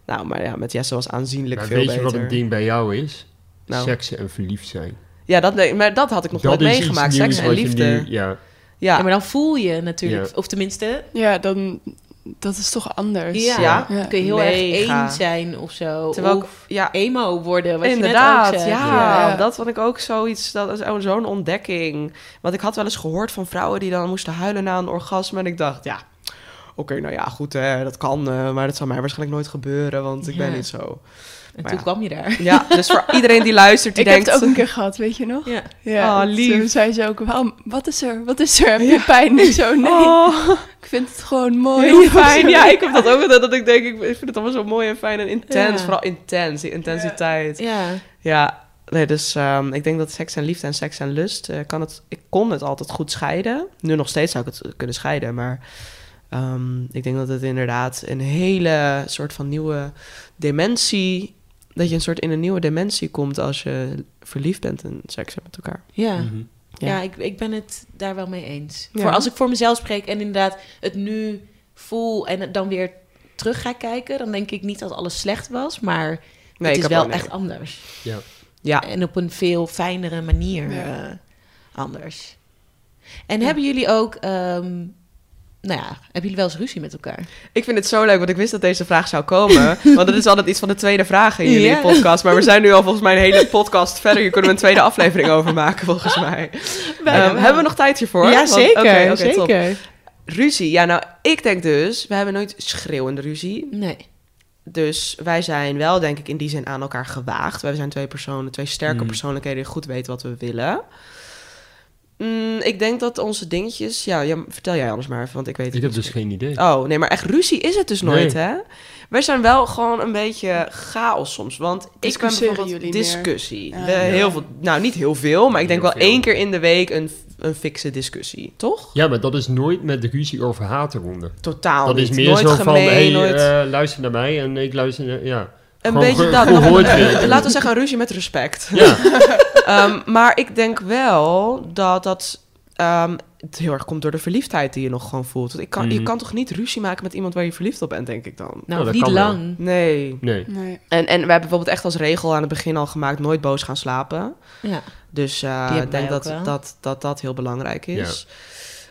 [SPEAKER 4] nou, maar ja, met Jesse was aanzienlijk
[SPEAKER 5] Maar
[SPEAKER 4] veel
[SPEAKER 5] weet
[SPEAKER 4] beter.
[SPEAKER 5] je wat een ding bij jou is?
[SPEAKER 4] Nou.
[SPEAKER 5] Seksen en verliefd zijn.
[SPEAKER 4] Ja, dat, nee, maar dat had ik nog
[SPEAKER 5] dat
[SPEAKER 4] nooit
[SPEAKER 5] is iets
[SPEAKER 4] meegemaakt.
[SPEAKER 5] nieuws
[SPEAKER 4] Seks en
[SPEAKER 5] wat je
[SPEAKER 4] liefde.
[SPEAKER 5] nu- ja.
[SPEAKER 4] ja.
[SPEAKER 1] Ja, maar dan voel je natuurlijk,
[SPEAKER 5] Ja.
[SPEAKER 1] of tenminste,
[SPEAKER 2] Ja, dan... Dat is toch anders.
[SPEAKER 1] ja,
[SPEAKER 4] Ja.
[SPEAKER 1] dan kun je heel
[SPEAKER 4] Mega.
[SPEAKER 1] erg één zijn of zo.
[SPEAKER 4] Terwijl ik-
[SPEAKER 1] of
[SPEAKER 4] ja,
[SPEAKER 1] emo worden, wat
[SPEAKER 4] Inderdaad,
[SPEAKER 1] je net ook zegt.
[SPEAKER 4] ja,
[SPEAKER 2] Ja.
[SPEAKER 4] Dat vond ik ook zoiets, dat is ook zo'n ontdekking. Want ik had wel eens gehoord van vrouwen die dan moesten huilen na een orgasme. En ik dacht, ja, oké, nou ja, goed, hè, dat kan. eh, maar dat zal mij waarschijnlijk nooit gebeuren, want ik
[SPEAKER 1] Ja.
[SPEAKER 4] ben niet zo.
[SPEAKER 1] En
[SPEAKER 4] Maar
[SPEAKER 1] toen
[SPEAKER 4] ja.
[SPEAKER 1] kwam je daar.
[SPEAKER 4] Ja, dus voor iedereen die luistert, die
[SPEAKER 2] Ik
[SPEAKER 4] denkt...
[SPEAKER 2] heb het ook een keer gehad, weet je nog?
[SPEAKER 1] Ja.
[SPEAKER 2] Ja,
[SPEAKER 4] Oh, lief.
[SPEAKER 2] Toen zei ze ook, "Waarom- wat is er? Wat is er? Heb je pijn? Ik
[SPEAKER 4] (laughs)
[SPEAKER 2] zo, nee,
[SPEAKER 4] Oh,
[SPEAKER 2] ik vind het gewoon mooi. (laughs)
[SPEAKER 4] heel fijn. Ja, ik heb dat ook altijd, dat ik denk, ik ik vind het allemaal zo mooi en fijn en intens.
[SPEAKER 1] Ja.
[SPEAKER 4] Vooral intens, die intensiteit. Ja,
[SPEAKER 1] Ja.
[SPEAKER 4] nee, dus ehm, ik denk dat seks en liefde en seks en lust, eh, kan het, ik kon het altijd goed scheiden. Nu nog steeds zou ik het kunnen scheiden, maar ehm, ik denk dat het inderdaad een hele soort van nieuwe dimensie, dat je een soort in een nieuwe dimensie komt als je verliefd bent en seks hebt met elkaar.
[SPEAKER 1] Ja,
[SPEAKER 5] Mhm.
[SPEAKER 1] ja.
[SPEAKER 4] Ja.
[SPEAKER 1] ik, ik ben het daar wel mee eens.
[SPEAKER 4] Ja.
[SPEAKER 1] Voor als ik voor mezelf spreek en inderdaad het nu voel en het dan weer terug ga kijken, dan denk ik niet dat alles slecht was, maar het is
[SPEAKER 4] heb
[SPEAKER 1] wel
[SPEAKER 4] ook- nee.
[SPEAKER 1] echt anders.
[SPEAKER 5] Ja.
[SPEAKER 4] Ja.
[SPEAKER 1] En op een veel fijnere manier
[SPEAKER 2] Ja.
[SPEAKER 1] eh, anders. En hebben jullie ook, ehm, nou ja, hebben jullie wel eens ruzie met elkaar?
[SPEAKER 4] Ik vind het zo leuk, want ik wist dat deze vraag zou
[SPEAKER 1] (laughs)
[SPEAKER 4] komen. Want dat is altijd iets van de tweede vraag in jullie
[SPEAKER 1] Ja.
[SPEAKER 4] podcast. Maar we zijn nu al volgens mij een hele podcast verder. Hier kunnen we een tweede aflevering over maken, volgens mij.
[SPEAKER 1] Bijna
[SPEAKER 4] Ehm,
[SPEAKER 1] wel.
[SPEAKER 4] hebben we nog tijd hiervoor?
[SPEAKER 1] Ja,
[SPEAKER 4] Want-
[SPEAKER 1] zeker,
[SPEAKER 4] oké, oké, top.
[SPEAKER 2] Zeker.
[SPEAKER 4] Ruzie. Ja, nou, ik denk dus, we hebben nooit schreeuwende ruzie.
[SPEAKER 1] Nee.
[SPEAKER 4] Dus wij zijn wel, denk ik, in die zin aan elkaar gewaagd. Wij zijn twee personen, twee sterke
[SPEAKER 5] Mm.
[SPEAKER 4] persoonlijkheden die goed weten wat we willen. Mm, ik denk dat onze dingetjes... Ja, ja, vertel jij anders maar even, want ik weet het
[SPEAKER 5] Ik heb
[SPEAKER 4] niet.
[SPEAKER 5] dus geen idee.
[SPEAKER 4] Oh, nee, maar echt ruzie is het dus nooit,
[SPEAKER 5] Nee.
[SPEAKER 4] hè? Wij zijn wel gewoon een beetje chaos soms. Want ik ben
[SPEAKER 2] Discussiëren
[SPEAKER 4] bijvoorbeeld
[SPEAKER 2] jullie meer?
[SPEAKER 4] discussie.
[SPEAKER 2] Ja.
[SPEAKER 4] We heel veel, nou, niet heel veel, maar ik denk
[SPEAKER 5] Heel
[SPEAKER 4] wel
[SPEAKER 5] veel.
[SPEAKER 4] één keer in de week een, een fikse discussie, toch?
[SPEAKER 5] Ja, maar dat is nooit met ruzie over hatenronden.
[SPEAKER 4] Totaal
[SPEAKER 5] Dat
[SPEAKER 4] niet.
[SPEAKER 5] is meer
[SPEAKER 4] nooit
[SPEAKER 5] zo van,
[SPEAKER 4] gemeen,
[SPEAKER 5] hey,
[SPEAKER 4] nooit...
[SPEAKER 5] eh, luister naar mij en ik luister naar... Ja,
[SPEAKER 4] een
[SPEAKER 5] gewoon
[SPEAKER 4] beetje
[SPEAKER 5] ge-
[SPEAKER 4] dat. (laughs)
[SPEAKER 5] gehoord
[SPEAKER 4] (clears throat)
[SPEAKER 5] willen.
[SPEAKER 4] Laten we zeggen, een ruzie met
[SPEAKER 5] (laughs)
[SPEAKER 4] respect.
[SPEAKER 5] ja.
[SPEAKER 4] Ehm, maar ik denk wel dat dat ehm, het heel erg komt door de verliefdheid die je nog gewoon voelt. Want ik kan, Je
[SPEAKER 5] Mhm.
[SPEAKER 4] kan toch niet ruzie maken met iemand waar je verliefd op bent, denk ik dan?
[SPEAKER 1] Nou,
[SPEAKER 5] dat
[SPEAKER 1] niet
[SPEAKER 5] kan wel.
[SPEAKER 1] lang.
[SPEAKER 4] Nee. (laughs)
[SPEAKER 5] Nee.
[SPEAKER 2] Nee.
[SPEAKER 4] En, en we hebben bijvoorbeeld echt als regel aan het begin al gemaakt... nooit boos gaan slapen.
[SPEAKER 1] Ja.
[SPEAKER 4] Dus eh,
[SPEAKER 1] Die hebben
[SPEAKER 4] ik denk
[SPEAKER 1] wij ook
[SPEAKER 4] dat
[SPEAKER 1] wel.
[SPEAKER 4] dat, dat dat dat heel belangrijk is.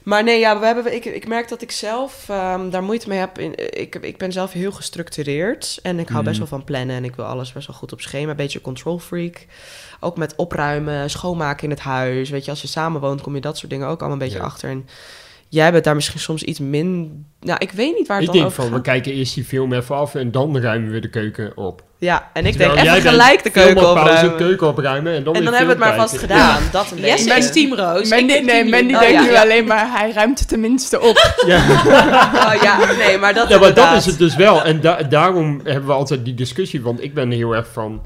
[SPEAKER 4] Maar nee, ja, we hebben, ik, ik merk dat ik zelf ehm, daar moeite mee heb. In, ik, ik ben zelf heel gestructureerd en ik hou
[SPEAKER 5] Mhm.
[SPEAKER 4] best wel van plannen... en ik wil alles best wel goed op schema. Een beetje control freak. Ook met opruimen, schoonmaken in het huis. Weet je, als je samen woont kom je dat soort dingen ook allemaal een beetje
[SPEAKER 5] Ja.
[SPEAKER 4] achter. En jij bent daar misschien soms iets min... Nou, ik weet niet waar het
[SPEAKER 5] Ik
[SPEAKER 4] dan
[SPEAKER 5] denk
[SPEAKER 4] over
[SPEAKER 5] van, we
[SPEAKER 4] gaat.
[SPEAKER 5] kijken eerst die film even af en dan ruimen we de keuken op.
[SPEAKER 4] Ja, en ik
[SPEAKER 5] Terwijl
[SPEAKER 4] denk
[SPEAKER 5] jij
[SPEAKER 4] even
[SPEAKER 5] denkt,
[SPEAKER 4] gelijk de keuken
[SPEAKER 5] filmpauze,
[SPEAKER 4] opruimen.
[SPEAKER 5] keuken opruimen en dan
[SPEAKER 4] En
[SPEAKER 5] weer
[SPEAKER 4] dan hebben we het maar
[SPEAKER 5] film
[SPEAKER 4] vast
[SPEAKER 5] kijken.
[SPEAKER 4] gedaan. Dat een
[SPEAKER 1] Yes,
[SPEAKER 4] beetje.
[SPEAKER 1] is Team Roos.
[SPEAKER 2] Mandy,
[SPEAKER 1] ik ben Team
[SPEAKER 2] nee, Mandy
[SPEAKER 1] Lin.
[SPEAKER 4] Oh,
[SPEAKER 2] denkt
[SPEAKER 4] ja,
[SPEAKER 2] nu
[SPEAKER 4] ja.
[SPEAKER 2] alleen maar, hij ruimt het tenminste op.
[SPEAKER 4] (laughs)
[SPEAKER 5] (laughs) Ja.
[SPEAKER 4] (laughs) Oh ja, nee, maar dat,
[SPEAKER 5] Ja, maar dat
[SPEAKER 4] inderdaad.
[SPEAKER 5] is het dus wel. En da- daarom hebben we altijd die discussie, want ik ben heel erg van...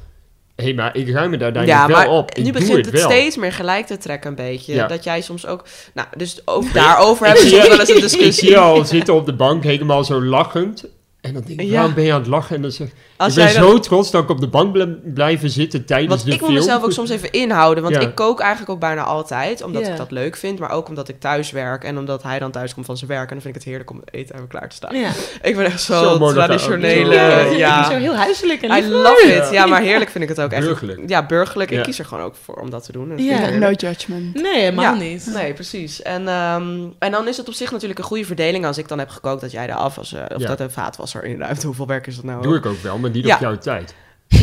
[SPEAKER 5] Hé, hey, maar ik ruim me daar
[SPEAKER 4] Ja,
[SPEAKER 5] uiteindelijk
[SPEAKER 4] maar
[SPEAKER 5] wel op. Ik
[SPEAKER 4] nu
[SPEAKER 5] doe
[SPEAKER 4] begint het,
[SPEAKER 5] het wel.
[SPEAKER 4] steeds meer gelijk te trekken een beetje.
[SPEAKER 5] Ja.
[SPEAKER 4] Dat jij soms ook... Nou, dus ook daarover hebben we
[SPEAKER 5] zie
[SPEAKER 4] soms
[SPEAKER 5] je-
[SPEAKER 4] wel eens een
[SPEAKER 5] Ik zie
[SPEAKER 4] discussie.
[SPEAKER 5] je al zitten op de bank, helemaal zo lachend. En dan denk ik,
[SPEAKER 4] Ja.
[SPEAKER 5] waarom ben je aan het lachen? En dan zeg (laughs) ik,
[SPEAKER 4] Als
[SPEAKER 5] ik ben
[SPEAKER 4] jij dat-
[SPEAKER 5] zo trots dat ik op de bank ble- blijven zitten tijdens
[SPEAKER 4] Want
[SPEAKER 5] de
[SPEAKER 4] ik moet
[SPEAKER 5] film.
[SPEAKER 4] mezelf ook soms even inhouden. Want
[SPEAKER 5] Ja.
[SPEAKER 4] ik kook eigenlijk ook bijna altijd. Omdat
[SPEAKER 1] Ja.
[SPEAKER 4] ik dat leuk vind. Maar ook omdat ik thuis werk. En omdat hij dan thuis komt van zijn werk. En dan vind ik het heerlijk om eten even klaar te staan.
[SPEAKER 1] Ja.
[SPEAKER 4] Ik ben echt
[SPEAKER 5] Zo
[SPEAKER 4] zo
[SPEAKER 5] mooi dat hij ook
[SPEAKER 4] traditionele.
[SPEAKER 5] zo-
[SPEAKER 1] Ja,
[SPEAKER 4] Ja,
[SPEAKER 1] het is Zo heel huiselijk en
[SPEAKER 4] I
[SPEAKER 1] lief.
[SPEAKER 4] love
[SPEAKER 5] Ja.
[SPEAKER 4] it. Ja, maar heerlijk vind ik het ook echt.
[SPEAKER 5] Burgerlijk.
[SPEAKER 4] Ja, burgerlijk.
[SPEAKER 5] Ja.
[SPEAKER 4] Ik kies er gewoon ook voor om dat te doen. En
[SPEAKER 1] Ja. Nou,
[SPEAKER 4] vind ik
[SPEAKER 2] Ja,
[SPEAKER 4] heerlijk.
[SPEAKER 2] no judgment.
[SPEAKER 1] Nee, helemaal
[SPEAKER 4] Ja.
[SPEAKER 1] niet.
[SPEAKER 4] Nee, precies. En, ehm, en dan is het op zich natuurlijk een goede verdeling als ik dan heb gekookt dat jij de afwas, eh, of
[SPEAKER 5] Ja.
[SPEAKER 4] dat een vaatwasser in ruimt. Hoeveel werk is dat nou?
[SPEAKER 5] Doe ik ook wel, maar niet
[SPEAKER 4] Ja.
[SPEAKER 5] op jouw tijd.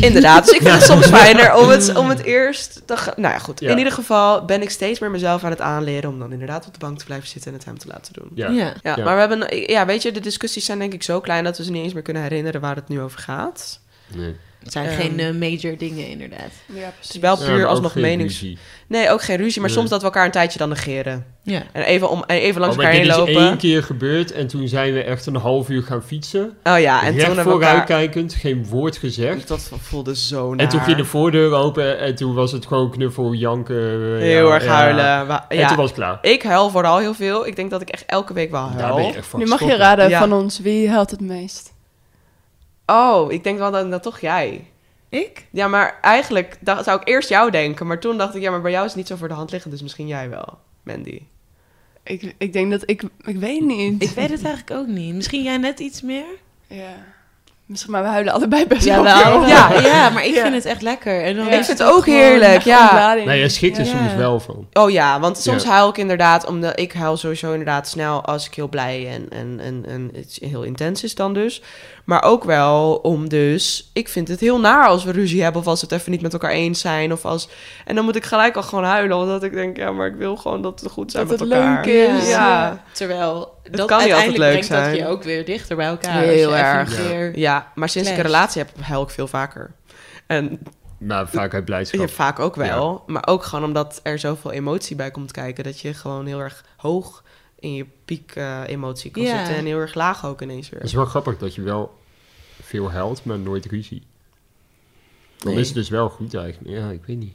[SPEAKER 4] Inderdaad. Dus ik
[SPEAKER 5] (laughs)
[SPEAKER 4] vind het soms fijner om het, om het eerst. Dan ga- nou ja, goed.
[SPEAKER 5] Ja.
[SPEAKER 4] In ieder geval ben ik steeds meer mezelf aan het aanleren om dan inderdaad op de bank te blijven zitten en het hem te laten doen.
[SPEAKER 5] Ja.
[SPEAKER 1] Ja.
[SPEAKER 4] Ja,
[SPEAKER 5] Ja.
[SPEAKER 4] maar we hebben, ja, weet je, de discussies zijn denk ik zo klein dat we ze niet eens meer kunnen herinneren waar het nu over gaat.
[SPEAKER 5] Nee.
[SPEAKER 1] Het zijn
[SPEAKER 4] Ehm.
[SPEAKER 1] geen eh, major dingen, inderdaad.
[SPEAKER 2] Ja,
[SPEAKER 4] Het is wel
[SPEAKER 5] Ja,
[SPEAKER 4] puur
[SPEAKER 5] maar ook
[SPEAKER 4] alsnog
[SPEAKER 5] geen
[SPEAKER 4] menings.
[SPEAKER 5] ruzie.
[SPEAKER 4] Nee, ook geen ruzie, maar
[SPEAKER 5] Nee.
[SPEAKER 4] soms dat we elkaar een tijdje dan negeren.
[SPEAKER 1] Ja.
[SPEAKER 4] En even, om, en even langs
[SPEAKER 5] Oh, maar
[SPEAKER 4] elkaar heen
[SPEAKER 5] dit is één
[SPEAKER 4] lopen.
[SPEAKER 5] keer gebeurd en toen zijn we echt een half uur gaan fietsen.
[SPEAKER 4] Oh ja, en
[SPEAKER 5] En
[SPEAKER 4] toen
[SPEAKER 5] Recht
[SPEAKER 4] hebben we elkaar...
[SPEAKER 5] vooruitkijkend, geen woord gezegd.
[SPEAKER 4] Dat voelde zo naar.
[SPEAKER 5] En toen ging de voordeur open en toen was het gewoon knuffel, janken. eh,
[SPEAKER 4] Heel
[SPEAKER 5] ja,
[SPEAKER 4] erg
[SPEAKER 5] ja.
[SPEAKER 4] huilen. Wa-
[SPEAKER 5] En
[SPEAKER 4] ja.
[SPEAKER 5] toen was het klaar.
[SPEAKER 4] Ik huil vooral heel veel. Ik denk dat ik echt elke week wel
[SPEAKER 5] Daar
[SPEAKER 4] huil.
[SPEAKER 5] ben je echt van
[SPEAKER 2] Nu mag je
[SPEAKER 5] gestopt.
[SPEAKER 2] raden
[SPEAKER 4] Ja.
[SPEAKER 2] van ons, wie helpt het meest?
[SPEAKER 4] Oh, ik denk wel dan, dat toch jij.
[SPEAKER 1] Ik?
[SPEAKER 4] Ja, maar eigenlijk dacht, zou ik eerst jou denken. Maar toen dacht ik, ja, maar bij jou is het niet zo voor de hand liggen. Dus misschien jij wel, Mandy.
[SPEAKER 2] Ik, ik denk dat ik... Ik weet niet.
[SPEAKER 1] Ik weet het eigenlijk ook niet. Misschien jij net iets meer?
[SPEAKER 2] Ja. Misschien, maar we huilen allebei best wel veel.
[SPEAKER 1] Jawel. Ja, ja, maar ik
[SPEAKER 2] Ja.
[SPEAKER 1] vind het echt lekker. En dan
[SPEAKER 2] Ja.
[SPEAKER 1] is
[SPEAKER 4] Ik vind
[SPEAKER 1] het
[SPEAKER 4] het ook
[SPEAKER 1] gewoon-
[SPEAKER 4] heerlijk, ja.
[SPEAKER 2] Ontlading.
[SPEAKER 5] Nee, je schikt er
[SPEAKER 1] Ja.
[SPEAKER 5] soms wel van.
[SPEAKER 4] Oh ja, want soms
[SPEAKER 5] Ja.
[SPEAKER 4] huil ik inderdaad, omdat ik huil sowieso inderdaad snel als ik heel blij en, en, en, en het heel intens is dan dus. Maar ook wel om dus, ik vind het heel naar als we ruzie hebben of als we het even niet met elkaar eens zijn. Of als, en dan moet ik gelijk al gewoon huilen, omdat ik denk, ja, maar ik wil gewoon dat we goed zijn
[SPEAKER 2] Dat
[SPEAKER 4] met
[SPEAKER 2] het
[SPEAKER 4] elkaar.
[SPEAKER 2] leuk is,
[SPEAKER 4] Ja.
[SPEAKER 2] ja.
[SPEAKER 1] Terwijl dat
[SPEAKER 4] kan niet altijd
[SPEAKER 1] uiteindelijk
[SPEAKER 4] leuk
[SPEAKER 1] brengt dat
[SPEAKER 4] zijn.
[SPEAKER 1] je ook weer dichter bij elkaar.
[SPEAKER 4] Heel
[SPEAKER 1] als je even
[SPEAKER 4] erg.
[SPEAKER 1] een keer-
[SPEAKER 4] Ja, maar sinds ik een
[SPEAKER 1] Clash.
[SPEAKER 4] relatie heb, huil ik veel vaker. En
[SPEAKER 5] Maar vaak uit blijdschap.
[SPEAKER 4] ja, vaak ook wel. Maar ook gewoon omdat er zoveel emotie bij komt kijken. Dat je gewoon heel erg hoog in je piek eh, emotie kan
[SPEAKER 1] Ja.
[SPEAKER 4] zitten. En heel erg laag ook ineens
[SPEAKER 5] Het is
[SPEAKER 4] weer.
[SPEAKER 5] wel grappig dat je wel veel huilt, maar nooit ruzie. Dan
[SPEAKER 4] Nee.
[SPEAKER 5] is het dus wel goed eigenlijk. Ja, ik weet niet.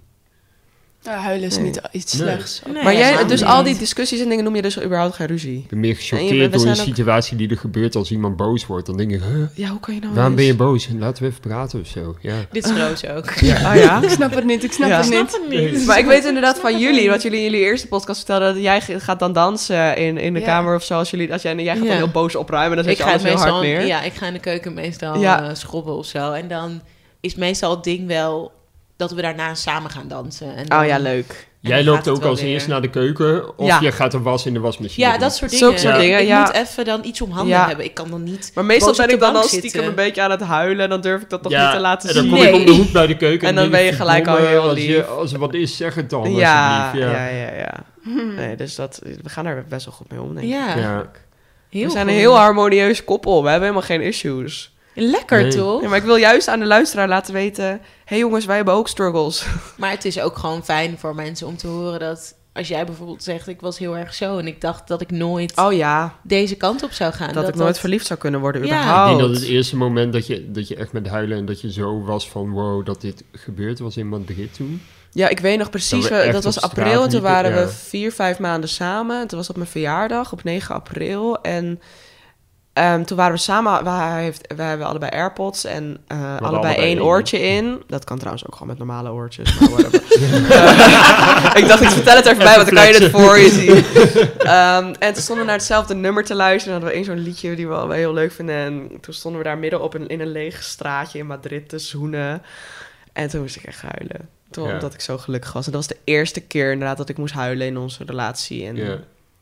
[SPEAKER 2] Ja, huilen is
[SPEAKER 4] Nee.
[SPEAKER 2] niet iets
[SPEAKER 5] Nee.
[SPEAKER 2] slechts.
[SPEAKER 1] Nee,
[SPEAKER 4] maar jij,
[SPEAKER 1] helemaal
[SPEAKER 4] dus
[SPEAKER 1] niet.
[SPEAKER 4] al die discussies en dingen noem je dus überhaupt geen ruzie.
[SPEAKER 5] Ik ben meer
[SPEAKER 4] En je-
[SPEAKER 5] gechoqueerd
[SPEAKER 4] we
[SPEAKER 5] door een
[SPEAKER 4] zijn ook-
[SPEAKER 5] situatie die er gebeurt als iemand boos wordt. Dan denk ik, huh,
[SPEAKER 4] Ja, hoe kan je nou
[SPEAKER 5] waarom ben
[SPEAKER 4] eens-
[SPEAKER 5] je boos? Laten we even praten of zo. Ja.
[SPEAKER 1] Dit is Roos
[SPEAKER 4] (laughs)
[SPEAKER 1] ook.
[SPEAKER 4] Ah ja?
[SPEAKER 1] (laughs)
[SPEAKER 2] Ik snap het niet, ik snap
[SPEAKER 4] Ja.
[SPEAKER 2] het
[SPEAKER 1] Ik
[SPEAKER 2] niet.
[SPEAKER 1] snap het niet.
[SPEAKER 4] Maar ik weet inderdaad van jullie, wat jullie in jullie eerste podcast vertelden, dat jij ge- gaat dan dansen in, in de
[SPEAKER 2] Ja.
[SPEAKER 4] kamer of zo. Als jullie, als jij, en jij gaat
[SPEAKER 1] Ja.
[SPEAKER 4] dan heel boos opruimen en dan
[SPEAKER 1] ik
[SPEAKER 4] zet
[SPEAKER 1] ga
[SPEAKER 4] je
[SPEAKER 1] het
[SPEAKER 4] alles heel hard
[SPEAKER 1] meestal,
[SPEAKER 4] neer.
[SPEAKER 1] ja, ik ga in de keuken meestal
[SPEAKER 4] Ja.
[SPEAKER 1] eh, schrobben of zo. En dan is meestal het ding wel dat we daarna samen gaan dansen. En dan-
[SPEAKER 4] Oh ja, leuk.
[SPEAKER 1] En
[SPEAKER 5] Jij
[SPEAKER 1] dan gaat
[SPEAKER 5] loopt
[SPEAKER 1] het
[SPEAKER 5] ook
[SPEAKER 1] wel
[SPEAKER 5] als
[SPEAKER 1] weer.
[SPEAKER 5] eerst naar de keuken of
[SPEAKER 4] Ja.
[SPEAKER 5] je gaat een was in de wasmachine.
[SPEAKER 1] Ja,
[SPEAKER 5] doen.
[SPEAKER 1] dat soort dingen.
[SPEAKER 4] Zulke soort dingen,
[SPEAKER 1] ik, ik
[SPEAKER 4] ja.
[SPEAKER 1] moet even dan iets om handen
[SPEAKER 4] Ja.
[SPEAKER 1] hebben. Ik kan dan niet...
[SPEAKER 4] Maar meestal
[SPEAKER 1] boos op
[SPEAKER 4] ben ik
[SPEAKER 1] de
[SPEAKER 4] dan al
[SPEAKER 1] bank
[SPEAKER 4] stiekem
[SPEAKER 1] zitten.
[SPEAKER 4] een beetje aan het huilen en dan durf ik dat nog niet te laten
[SPEAKER 5] en dan
[SPEAKER 4] zien.
[SPEAKER 5] kom
[SPEAKER 1] Nee.
[SPEAKER 5] ik om de hoek bij de keuken.
[SPEAKER 4] En dan
[SPEAKER 5] denk
[SPEAKER 4] ben je
[SPEAKER 5] ik,
[SPEAKER 4] gelijk al
[SPEAKER 5] verdomme,
[SPEAKER 4] heel
[SPEAKER 5] als, je,
[SPEAKER 4] lief.
[SPEAKER 5] als er wat is, zeg het dan
[SPEAKER 4] ja,
[SPEAKER 5] alsjeblieft.
[SPEAKER 4] ja, ja, ja. Nee, dus dat, we gaan daar best wel goed mee om, denk ik.
[SPEAKER 1] Ja,
[SPEAKER 5] Ja.
[SPEAKER 1] heel
[SPEAKER 4] we zijn
[SPEAKER 1] goed.
[SPEAKER 4] een heel harmonieus koppel. We hebben helemaal geen issues.
[SPEAKER 1] Lekker,
[SPEAKER 5] Nee.
[SPEAKER 1] toch?
[SPEAKER 4] Ja, maar ik wil juist aan de luisteraar laten weten... hé hey jongens, wij hebben ook struggles.
[SPEAKER 1] Maar het is ook gewoon fijn voor mensen om te horen dat... Als jij bijvoorbeeld zegt, ik was heel erg zo... en ik dacht dat ik nooit
[SPEAKER 4] Oh ja,
[SPEAKER 1] deze kant op zou gaan.
[SPEAKER 4] dat, ik nooit verliefd zou kunnen worden
[SPEAKER 1] Ja.
[SPEAKER 5] Ik
[SPEAKER 4] überhaupt.
[SPEAKER 5] denk dat het eerste moment dat je, dat je echt met huilen en dat je zo was van wow, dat dit gebeurd was in Madrid toen.
[SPEAKER 4] Ja, ik weet nog precies,
[SPEAKER 5] Dat we
[SPEAKER 4] dat,
[SPEAKER 5] echt
[SPEAKER 4] dat
[SPEAKER 5] op
[SPEAKER 4] was
[SPEAKER 5] straat
[SPEAKER 4] april. en Toen
[SPEAKER 5] liepen,
[SPEAKER 4] waren
[SPEAKER 5] ja.
[SPEAKER 4] we vier, vijf maanden samen. En toen was dat mijn verjaardag op 9 april. En ehm, toen waren we samen, wij, heeft, wij hebben allebei AirPods en eh, allebei,
[SPEAKER 5] allebei
[SPEAKER 4] één
[SPEAKER 5] één.
[SPEAKER 4] oortje in. Dat kan trouwens ook gewoon met normale oortjes. Maar
[SPEAKER 5] (laughs)
[SPEAKER 4] whatever. Eh, ik dacht, ik vertel het er even bij, want dan kan je het voor je zien.
[SPEAKER 5] (laughs)
[SPEAKER 4] Ehm, en toen stonden we naar hetzelfde nummer te luisteren. En hadden we één zo'n liedje die we allebei heel leuk vinden. En toen stonden we daar midden op in, in een leeg straatje in Madrid te zoenen. En toen moest ik echt huilen. Toen,
[SPEAKER 5] Ja.
[SPEAKER 4] Omdat ik zo gelukkig was. En dat was de eerste keer inderdaad dat ik moest huilen in onze relatie. En
[SPEAKER 5] Ja.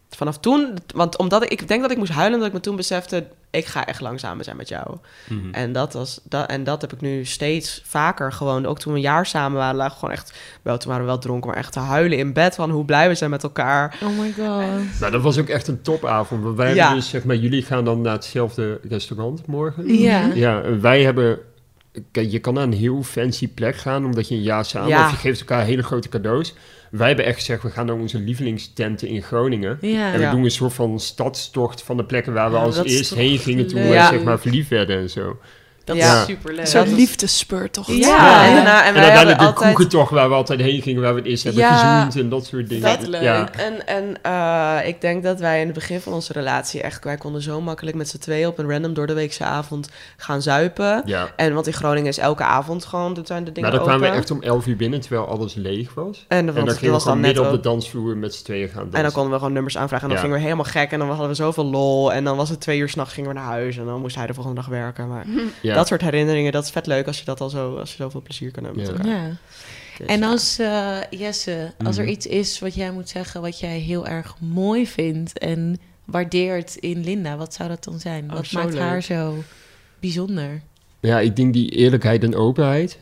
[SPEAKER 4] vanaf toen, want omdat ik, ik denk dat ik moest huilen omdat ik me toen besefte... ik ga echt langzamer zijn met jou.
[SPEAKER 5] Mhm.
[SPEAKER 4] En dat, was, dat, en dat heb ik nu steeds vaker gewoon. Ook toen we een jaar samen waren, lagen we gewoon echt... Wel, toen waren we wel dronken, maar echt te huilen in bed... van hoe blij we zijn met elkaar.
[SPEAKER 1] Oh my god.
[SPEAKER 5] Nou, dat was ook echt een topavond. Want wij
[SPEAKER 4] Ja.
[SPEAKER 5] hebben dus, zeg maar, jullie gaan dan naar hetzelfde restaurant morgen.
[SPEAKER 1] Ja.
[SPEAKER 5] Ja, en wij hebben... Kijk, je kan naar een heel fancy plek gaan, omdat je een jaar samen...
[SPEAKER 4] Ja.
[SPEAKER 5] Of je geeft elkaar hele grote cadeaus. Wij hebben echt gezegd, we gaan naar onze lievelingstenten in Groningen.
[SPEAKER 1] Ja.
[SPEAKER 5] En we
[SPEAKER 4] Ja.
[SPEAKER 5] doen een soort van stadstocht van de plekken waar we
[SPEAKER 1] Ja,
[SPEAKER 5] als
[SPEAKER 1] dat is
[SPEAKER 5] eerst
[SPEAKER 1] toch
[SPEAKER 5] heen gingen toen we
[SPEAKER 1] leuk.
[SPEAKER 5] zeg maar verliefd werden en zo.
[SPEAKER 1] Dat
[SPEAKER 4] Ja.
[SPEAKER 1] is superleuk.
[SPEAKER 2] Een soort
[SPEAKER 4] dat-
[SPEAKER 2] liefdespeur toch?
[SPEAKER 1] Ja.
[SPEAKER 4] Ja, en daarna... En
[SPEAKER 5] En
[SPEAKER 4] wij hebben
[SPEAKER 5] uiteindelijk de
[SPEAKER 4] altijd...
[SPEAKER 5] kroegentocht waar we altijd heen gingen, waar we het eerst hebben
[SPEAKER 4] Ja,
[SPEAKER 5] gezoend en dat soort dingen.
[SPEAKER 1] vet
[SPEAKER 5] Ja,
[SPEAKER 4] En, en eh, ik denk dat wij in het begin van onze relatie echt... Wij konden zo makkelijk met z'n tweeën op een random doordeweekse avond gaan zuipen.
[SPEAKER 5] ja.
[SPEAKER 4] En want in Groningen is elke avond gewoon... Er zijn de dingen
[SPEAKER 5] Maar dan Nou, kwamen we
[SPEAKER 4] open.
[SPEAKER 5] echt om 11 uur binnen, terwijl alles leeg was.
[SPEAKER 4] En, want
[SPEAKER 5] en dan
[SPEAKER 4] het
[SPEAKER 5] gingen we
[SPEAKER 4] was dan
[SPEAKER 5] gewoon
[SPEAKER 4] net
[SPEAKER 5] midden op de
[SPEAKER 4] ook-
[SPEAKER 5] dansvloer met z'n tweeën gaan dansen.
[SPEAKER 4] En dan konden we gewoon nummers aanvragen. En dan
[SPEAKER 5] Ja.
[SPEAKER 4] gingen we helemaal gek. En dan hadden we zoveel lol. En dan was het twee uur s'nachts gingen we naar huis. En dan moest hij de volgende dag werken. Maar
[SPEAKER 5] ja.
[SPEAKER 4] dat soort herinneringen, dat is vet leuk als je dat al zo... Als je zoveel plezier kan hebben
[SPEAKER 5] Ja.
[SPEAKER 4] met elkaar.
[SPEAKER 1] Ja.
[SPEAKER 4] Dus,
[SPEAKER 1] En
[SPEAKER 4] ja. Mhm.
[SPEAKER 1] als eh, Jesse, als er iets is wat jij moet zeggen wat jij heel erg mooi vindt en waardeert in Linda, wat zou dat dan zijn?
[SPEAKER 4] Oh,
[SPEAKER 1] wat
[SPEAKER 4] zo
[SPEAKER 1] maakt
[SPEAKER 4] leuk.
[SPEAKER 1] haar zo bijzonder?
[SPEAKER 5] ja, ik denk die eerlijkheid en openheid,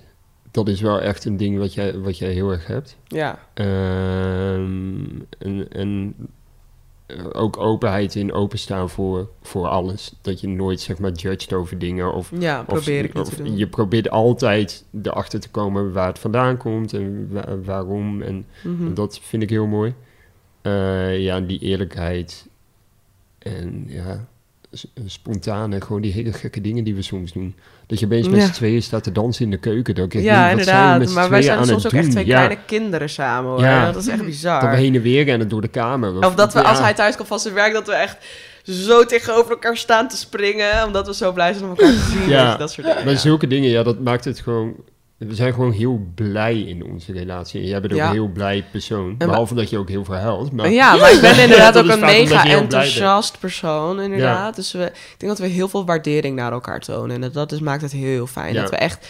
[SPEAKER 5] dat is wel echt een ding wat jij, wat jij heel erg hebt.
[SPEAKER 4] Ja.
[SPEAKER 5] Ehm, en, en ook openheid in openstaan voor, voor alles. Dat je nooit zeg maar judged over dingen of
[SPEAKER 4] Ja,
[SPEAKER 5] Of-
[SPEAKER 4] probeer ik niet
[SPEAKER 5] of
[SPEAKER 4] te doen.
[SPEAKER 5] Je probeert altijd erachter te komen waar het vandaan komt en wa- waarom. En
[SPEAKER 4] Mhm.
[SPEAKER 5] dat vind ik heel mooi. Eh, ja, die eerlijkheid. En ja, s- spontane, gewoon die hele gekke dingen die we soms doen. Dat je opeens met
[SPEAKER 4] Ja.
[SPEAKER 5] z'n tweeën staat te dansen in de keuken. Dat ik echt
[SPEAKER 4] Ja,
[SPEAKER 5] denk, wat zijn we met
[SPEAKER 4] inderdaad.
[SPEAKER 5] z'n
[SPEAKER 4] Maar wij
[SPEAKER 5] tweeën
[SPEAKER 4] zijn
[SPEAKER 5] aan
[SPEAKER 4] soms ook
[SPEAKER 5] het doen?
[SPEAKER 4] echt twee
[SPEAKER 5] ja,
[SPEAKER 4] kleine kinderen samen. Hoor.
[SPEAKER 5] Ja.
[SPEAKER 4] Dat is echt
[SPEAKER 5] Dat we
[SPEAKER 4] bizar.
[SPEAKER 5] heen en weer rennen door de kamer.
[SPEAKER 4] Of dat we,
[SPEAKER 5] Ja.
[SPEAKER 4] als hij thuis komt van zijn werk, dat we echt zo tegenover elkaar staan te springen. Omdat we zo blij zijn om elkaar te zien.
[SPEAKER 5] Ja.
[SPEAKER 4] Weet je, Dat soort dingen.
[SPEAKER 5] Maar
[SPEAKER 4] ja.
[SPEAKER 5] zulke dingen, ja, dat maakt het gewoon... We zijn gewoon heel blij in onze relatie. En jij bent ook
[SPEAKER 4] Ja.
[SPEAKER 5] een heel blij persoon.
[SPEAKER 4] maar-
[SPEAKER 5] Behalve dat je ook heel veel huilt. Maar
[SPEAKER 4] Ja, maar ik ben inderdaad
[SPEAKER 5] Nou. (laughs) dat
[SPEAKER 4] ook
[SPEAKER 5] is
[SPEAKER 4] een
[SPEAKER 5] vaak omdat
[SPEAKER 4] mega
[SPEAKER 5] je heel blij bent.
[SPEAKER 4] enthousiast persoon, inderdaad. Dus we, ik denk dat we heel veel waardering naar elkaar tonen. En dat- dat is, maakt het heel fijn.
[SPEAKER 5] Ja.
[SPEAKER 4] Dat we echt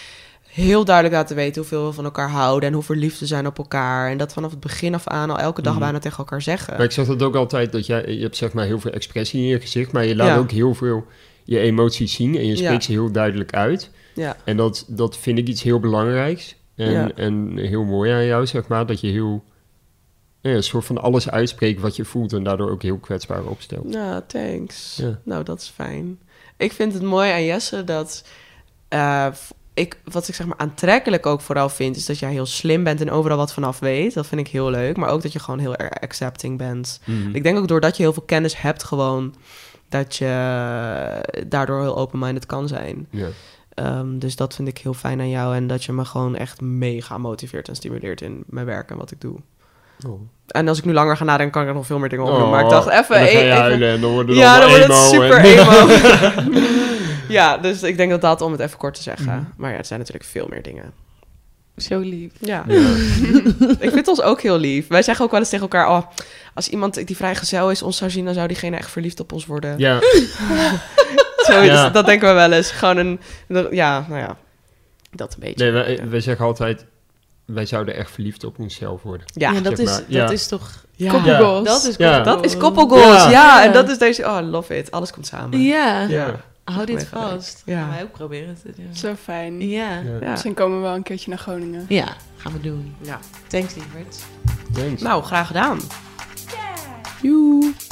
[SPEAKER 4] heel duidelijk laten weten hoeveel we van elkaar houden... en hoe verliefd we zijn op elkaar. En dat vanaf het begin af aan al elke
[SPEAKER 5] Mhm.
[SPEAKER 4] dag bijna tegen elkaar zeggen.
[SPEAKER 5] Maar ik zeg dat ook altijd, dat jij, je hebt zeg maar heel veel expressie in je gezicht, maar je laat
[SPEAKER 4] Ja.
[SPEAKER 5] ook heel veel je emoties zien en je
[SPEAKER 4] Ja.
[SPEAKER 5] spreekt ze heel duidelijk uit.
[SPEAKER 4] Ja.
[SPEAKER 5] En dat, dat vind ik iets heel belangrijks en,
[SPEAKER 4] Ja.
[SPEAKER 5] en heel mooi aan jou, zeg maar, dat je heel, ja, een soort van alles uitspreekt wat je voelt en daardoor ook heel kwetsbaar opstelt.
[SPEAKER 4] Ja, Nou, thanks.
[SPEAKER 5] Ja.
[SPEAKER 4] Nou, dat is fijn. Ik vind het mooi aan Jesse dat... eh, v- ik, wat ik zeg maar aantrekkelijk ook vooral vind... is dat jij heel slim bent en overal wat vanaf weet. Dat vind ik heel leuk. Maar ook dat je gewoon heel erg accepting bent. Nou,
[SPEAKER 5] Mhm. Hm.
[SPEAKER 4] Ik denk ook doordat je heel veel kennis hebt gewoon... dat je daardoor heel open-minded kan zijn.
[SPEAKER 5] Ja.
[SPEAKER 4] Ehm, dus dat vind ik heel fijn aan jou. En dat je me gewoon echt mega motiveert en stimuleert in mijn werk en wat ik doe. En als ik nu langer ga nadenken, kan ik er nog veel meer dingen op doen. Oh. maar ik dacht
[SPEAKER 5] Oh, en
[SPEAKER 4] even... e-
[SPEAKER 5] dan ga je
[SPEAKER 4] even-
[SPEAKER 5] huilen en dan wordt het
[SPEAKER 4] ja, dan
[SPEAKER 5] allemaal
[SPEAKER 4] wordt het
[SPEAKER 5] emo
[SPEAKER 4] super
[SPEAKER 5] en-
[SPEAKER 4] e- emo.
[SPEAKER 5] (laughs)
[SPEAKER 4] ja, dus ik denk dat dat om het even kort te zeggen.
[SPEAKER 5] Mhm.
[SPEAKER 4] Maar ja, het zijn natuurlijk veel meer dingen.
[SPEAKER 1] Zo lief.
[SPEAKER 4] Ja.
[SPEAKER 5] Ja.
[SPEAKER 4] (laughs) ik vind ons ook heel lief. Wij zeggen ook wel eens tegen elkaar... Oh, als iemand die vrijgezel is ons zou zien... dan zou diegene echt verliefd op ons worden.
[SPEAKER 5] (laughs) Ja.
[SPEAKER 4] Zo,
[SPEAKER 5] Ja.
[SPEAKER 4] dus dat denken we wel eens. Gewoon een... Ja, nou ja. Dat een beetje.
[SPEAKER 5] Nee, wij, wij zeggen altijd, wij zouden echt verliefd op onszelf worden.
[SPEAKER 4] Ja.
[SPEAKER 1] Ja,
[SPEAKER 4] Ja.
[SPEAKER 1] dat,
[SPEAKER 5] zeg
[SPEAKER 1] is,
[SPEAKER 5] maar, ja.
[SPEAKER 1] dat is toch...
[SPEAKER 5] Ja.
[SPEAKER 2] Koppelgoals.
[SPEAKER 1] Dat is
[SPEAKER 5] Ja.
[SPEAKER 4] Dat is
[SPEAKER 1] koppel.
[SPEAKER 4] koppelgoals. Ja.
[SPEAKER 1] Ja.
[SPEAKER 4] en dat is deze... Oh, I love it. Alles komt samen.
[SPEAKER 1] Ja,
[SPEAKER 5] Ja.
[SPEAKER 1] hou dit
[SPEAKER 4] Echt wel leuk.
[SPEAKER 1] vast.
[SPEAKER 4] Ja.
[SPEAKER 1] Gaan wij ook proberen te doen.
[SPEAKER 2] Zo fijn.
[SPEAKER 1] Ja. ja.
[SPEAKER 5] Ja.
[SPEAKER 4] Ja.
[SPEAKER 2] Misschien komen we wel een keertje naar Groningen.
[SPEAKER 1] gaan we doen.
[SPEAKER 4] Ja.
[SPEAKER 1] Thanks, lieverds.
[SPEAKER 5] Thanks.
[SPEAKER 4] Nou, graag gedaan.
[SPEAKER 2] Joe.